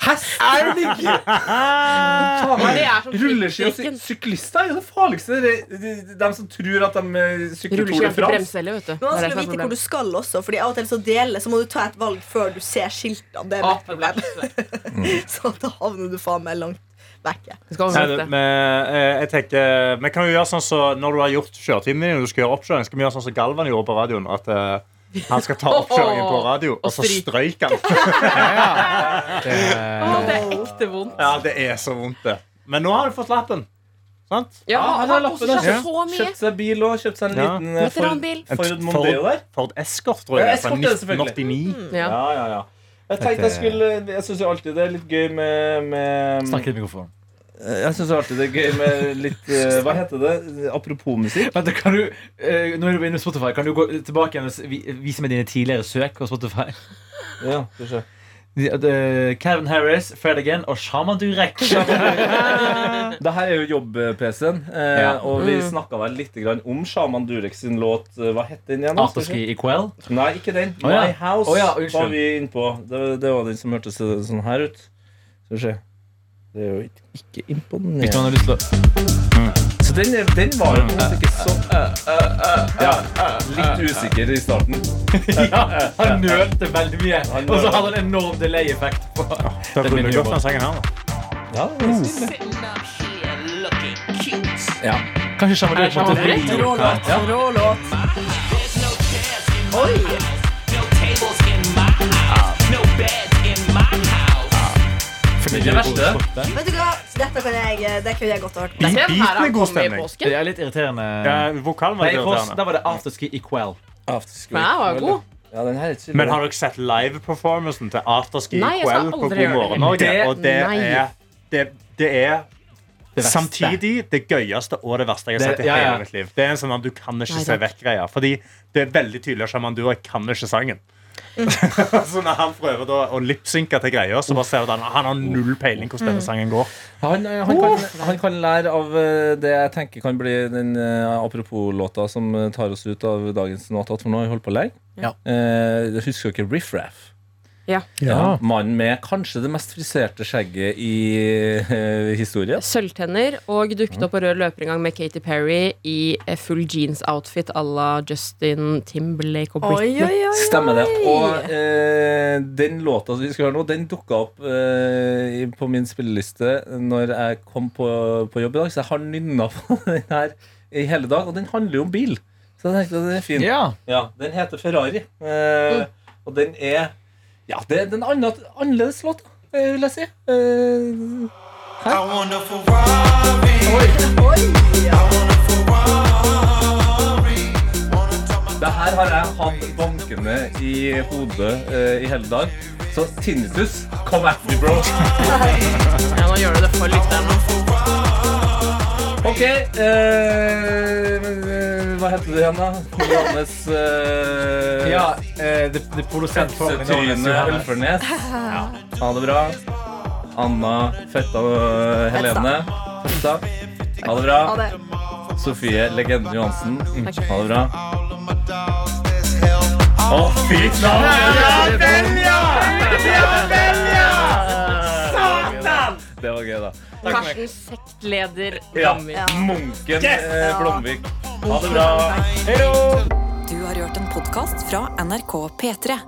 B: Hest! Elg!
E: men det er som
B: Rulleski og
E: trikken.
B: sy- syklister er jo det farligste. De, de, de som tror at de eh, sykler
E: Rulleski
B: Tour de
E: er ikke
B: France.
E: bremselle, vet du.
D: Men vanskelig
E: Det er det
D: å
E: som
D: vite
E: er
D: hvor du
E: problemet.
D: skal også, Fordi av og til så deler, så må du ta et valg før du ser skiltene. Det er
B: Ah.
D: mitt problem. Så da havner du faen meg langt vekke.
E: Du skal
F: Nei,
E: overvente.
F: det- men, eh, jeg tenker, vi kan jo gjøre sånn så, Når du har gjort kjøretimen din, og du skal gjøre oppkjøring, skal vi gjøre sånn som Galvan gjorde på radioen. At eh, han skal ta oppkjøringen på radio, og så
E: stryk.
F: strøyker han.
E: Å, det er ekte vondt.
F: Ja, det er så vondt, det. Men nå har du fått lappen. Sant?
E: Ja, han har
B: lappen,
E: også
F: ja.
E: kjøpt så mye.
B: Kjøpt seg bil og kjøpt seg en
F: Ja.
B: liten eh, Ford,
E: Veteranbil.
B: Ford Mondeo der.
F: Ford Escort, tror jeg.
B: Ja,
F: fra
B: Escort er det selvfølgelig.
F: 1989.
E: Ja.
B: Ja, ja, ja. Jeg tenkte jeg skulle Jeg syns jo alltid det er litt gøy med, med
C: Snakk litt i mikrofonen.
B: Jeg syns alltid det er gøy med litt eh, Hva heter det? Apropos musikk.
C: Vent, kan du, eh, nå er du inne på Spotify. Kan du gå tilbake igjen og s- vi- vise meg dine tidligere søk på Spotify?
B: Ja, skal vi se.
C: De- at, eh, Calvin Harris, Fred Again og Shaman Durek.
B: Det her er jo jobb-PC-en, eh,
C: Ja.
B: og vi snakka vel litt grann om Shaman Durek sin låt eh, Hva het den igjen? da?
C: Afterski i kveld.
B: Nei, ikke den.
C: Å, ja.
B: My House
C: Å, ja, unnskyld.
B: var vi innpå. Det, det var den som hørtes sånn her ut. Skal vi se. Det er jo ikke, ikke
C: Hvis man
B: imponerende. Mm.
C: har lyst til å
B: Så den, er- den var jo på en måte ikke så ja, Litt usikker i starten.
C: Ja, han nølte veldig mye.
B: Han
C: Og så
B: nølte.
C: hadde han enorm delay-effekt. på
F: Da
C: Det er min
F: ruller vi opp
C: humor.
F: den sangen her, da.
B: Ja, det er stille. ja.
C: Kanskje Shaman Durek måtte vri
D: Rå låt. Rå låt.
B: Men det verste
D: Vet du hva? Dette kan jeg, det kunne jeg godt ha hørt.
E: Den her
F: Beaten er
E: har
F: god
E: kommet i
F: stemning.
E: påsken.
C: Det er litt irriterende.
F: Ja, vokalen var
C: Nei,
F: litt
C: for, da
F: irriterende.
C: var det afterski i kveld.
B: Afterski.
E: Den her var jo god.
B: Ja, den her er ikke så
F: Men
B: bra.
F: har dere sett live-performancen til Afterski i
E: Nei, jeg skal
F: kveld på
E: aldri
F: God
E: gjøre det.
F: morgen Norge?
E: Det-
F: Og det
E: nei.
F: er, det, det er
C: Det verste.
F: Samtidig det gøyeste og det verste jeg har
C: Det-
F: sett i
C: ja, ja.
F: hele mitt liv. Det er en sånn at Du kan ikke
E: Nei,
F: se
E: takk.
F: vekk-greia. Fordi det er veldig tydelig at Shaman Durek kan ikke sangen. så når han prøver da å lipsynke til greia, så bare ser du at han, han har null peiling hvordan
E: Mm.
F: denne sangen går.
B: Han, eh, han, kan, han kan lære av eh, det jeg tenker kan bli den eh, apropos-låta som eh, tar oss ut av dagens notat, for nå har vi holdt på lenge.
C: Ja.
B: Eh, husker dere Riff Raff?
E: Ja.
B: Mannen med kanskje det mest friserte skjegget i eh, historien.
E: Sølvtenner og dukket opp på rød løper en gang med Katy Perry i eh, full jeans-outfit à la Justin Timberlake og
D: Oi,
E: Britney.
D: oi, oi.
B: Stemmer det. Og eh, den låta som vi skal høre nå, den dukka opp eh, i- på min spilleliste når jeg kom på, på jobb i dag, så jeg har nynna på den her i hele dag. Og den handler jo om bil, så jeg tenkte at den er fin.
C: Ja.
B: Ja, den heter Ferrari. Eh, Og den er Ja, det er den anna- annerledes låt, eh, vil jeg si. Eh, det her har jeg hatt bankende i hodet eh, i hele dag. Så tinnitus, come at me, bro.
E: Ja, nå gjør du det for lytterne.
B: Ok, eh, men, eh, hva heter du igjen, da? Johannes eh,
C: ja eh, det, det produsent for min navn er
B: Tryne
C: Johannes.
B: Ølfernes. Ha det bra. Anna Fetta og Helene. Fetta. Ha det bra.
D: Ha det.
B: Sofie Legenden Johansen. Ha det bra. Å, fy flate! Satan! Det var gøy, da.
E: Karsten sektleder
B: Ja.
E: Dammer.
B: Munken eh, Blomvik. Ha det bra. Hei då!
A: Du har hørt en podkast fra NRK P3.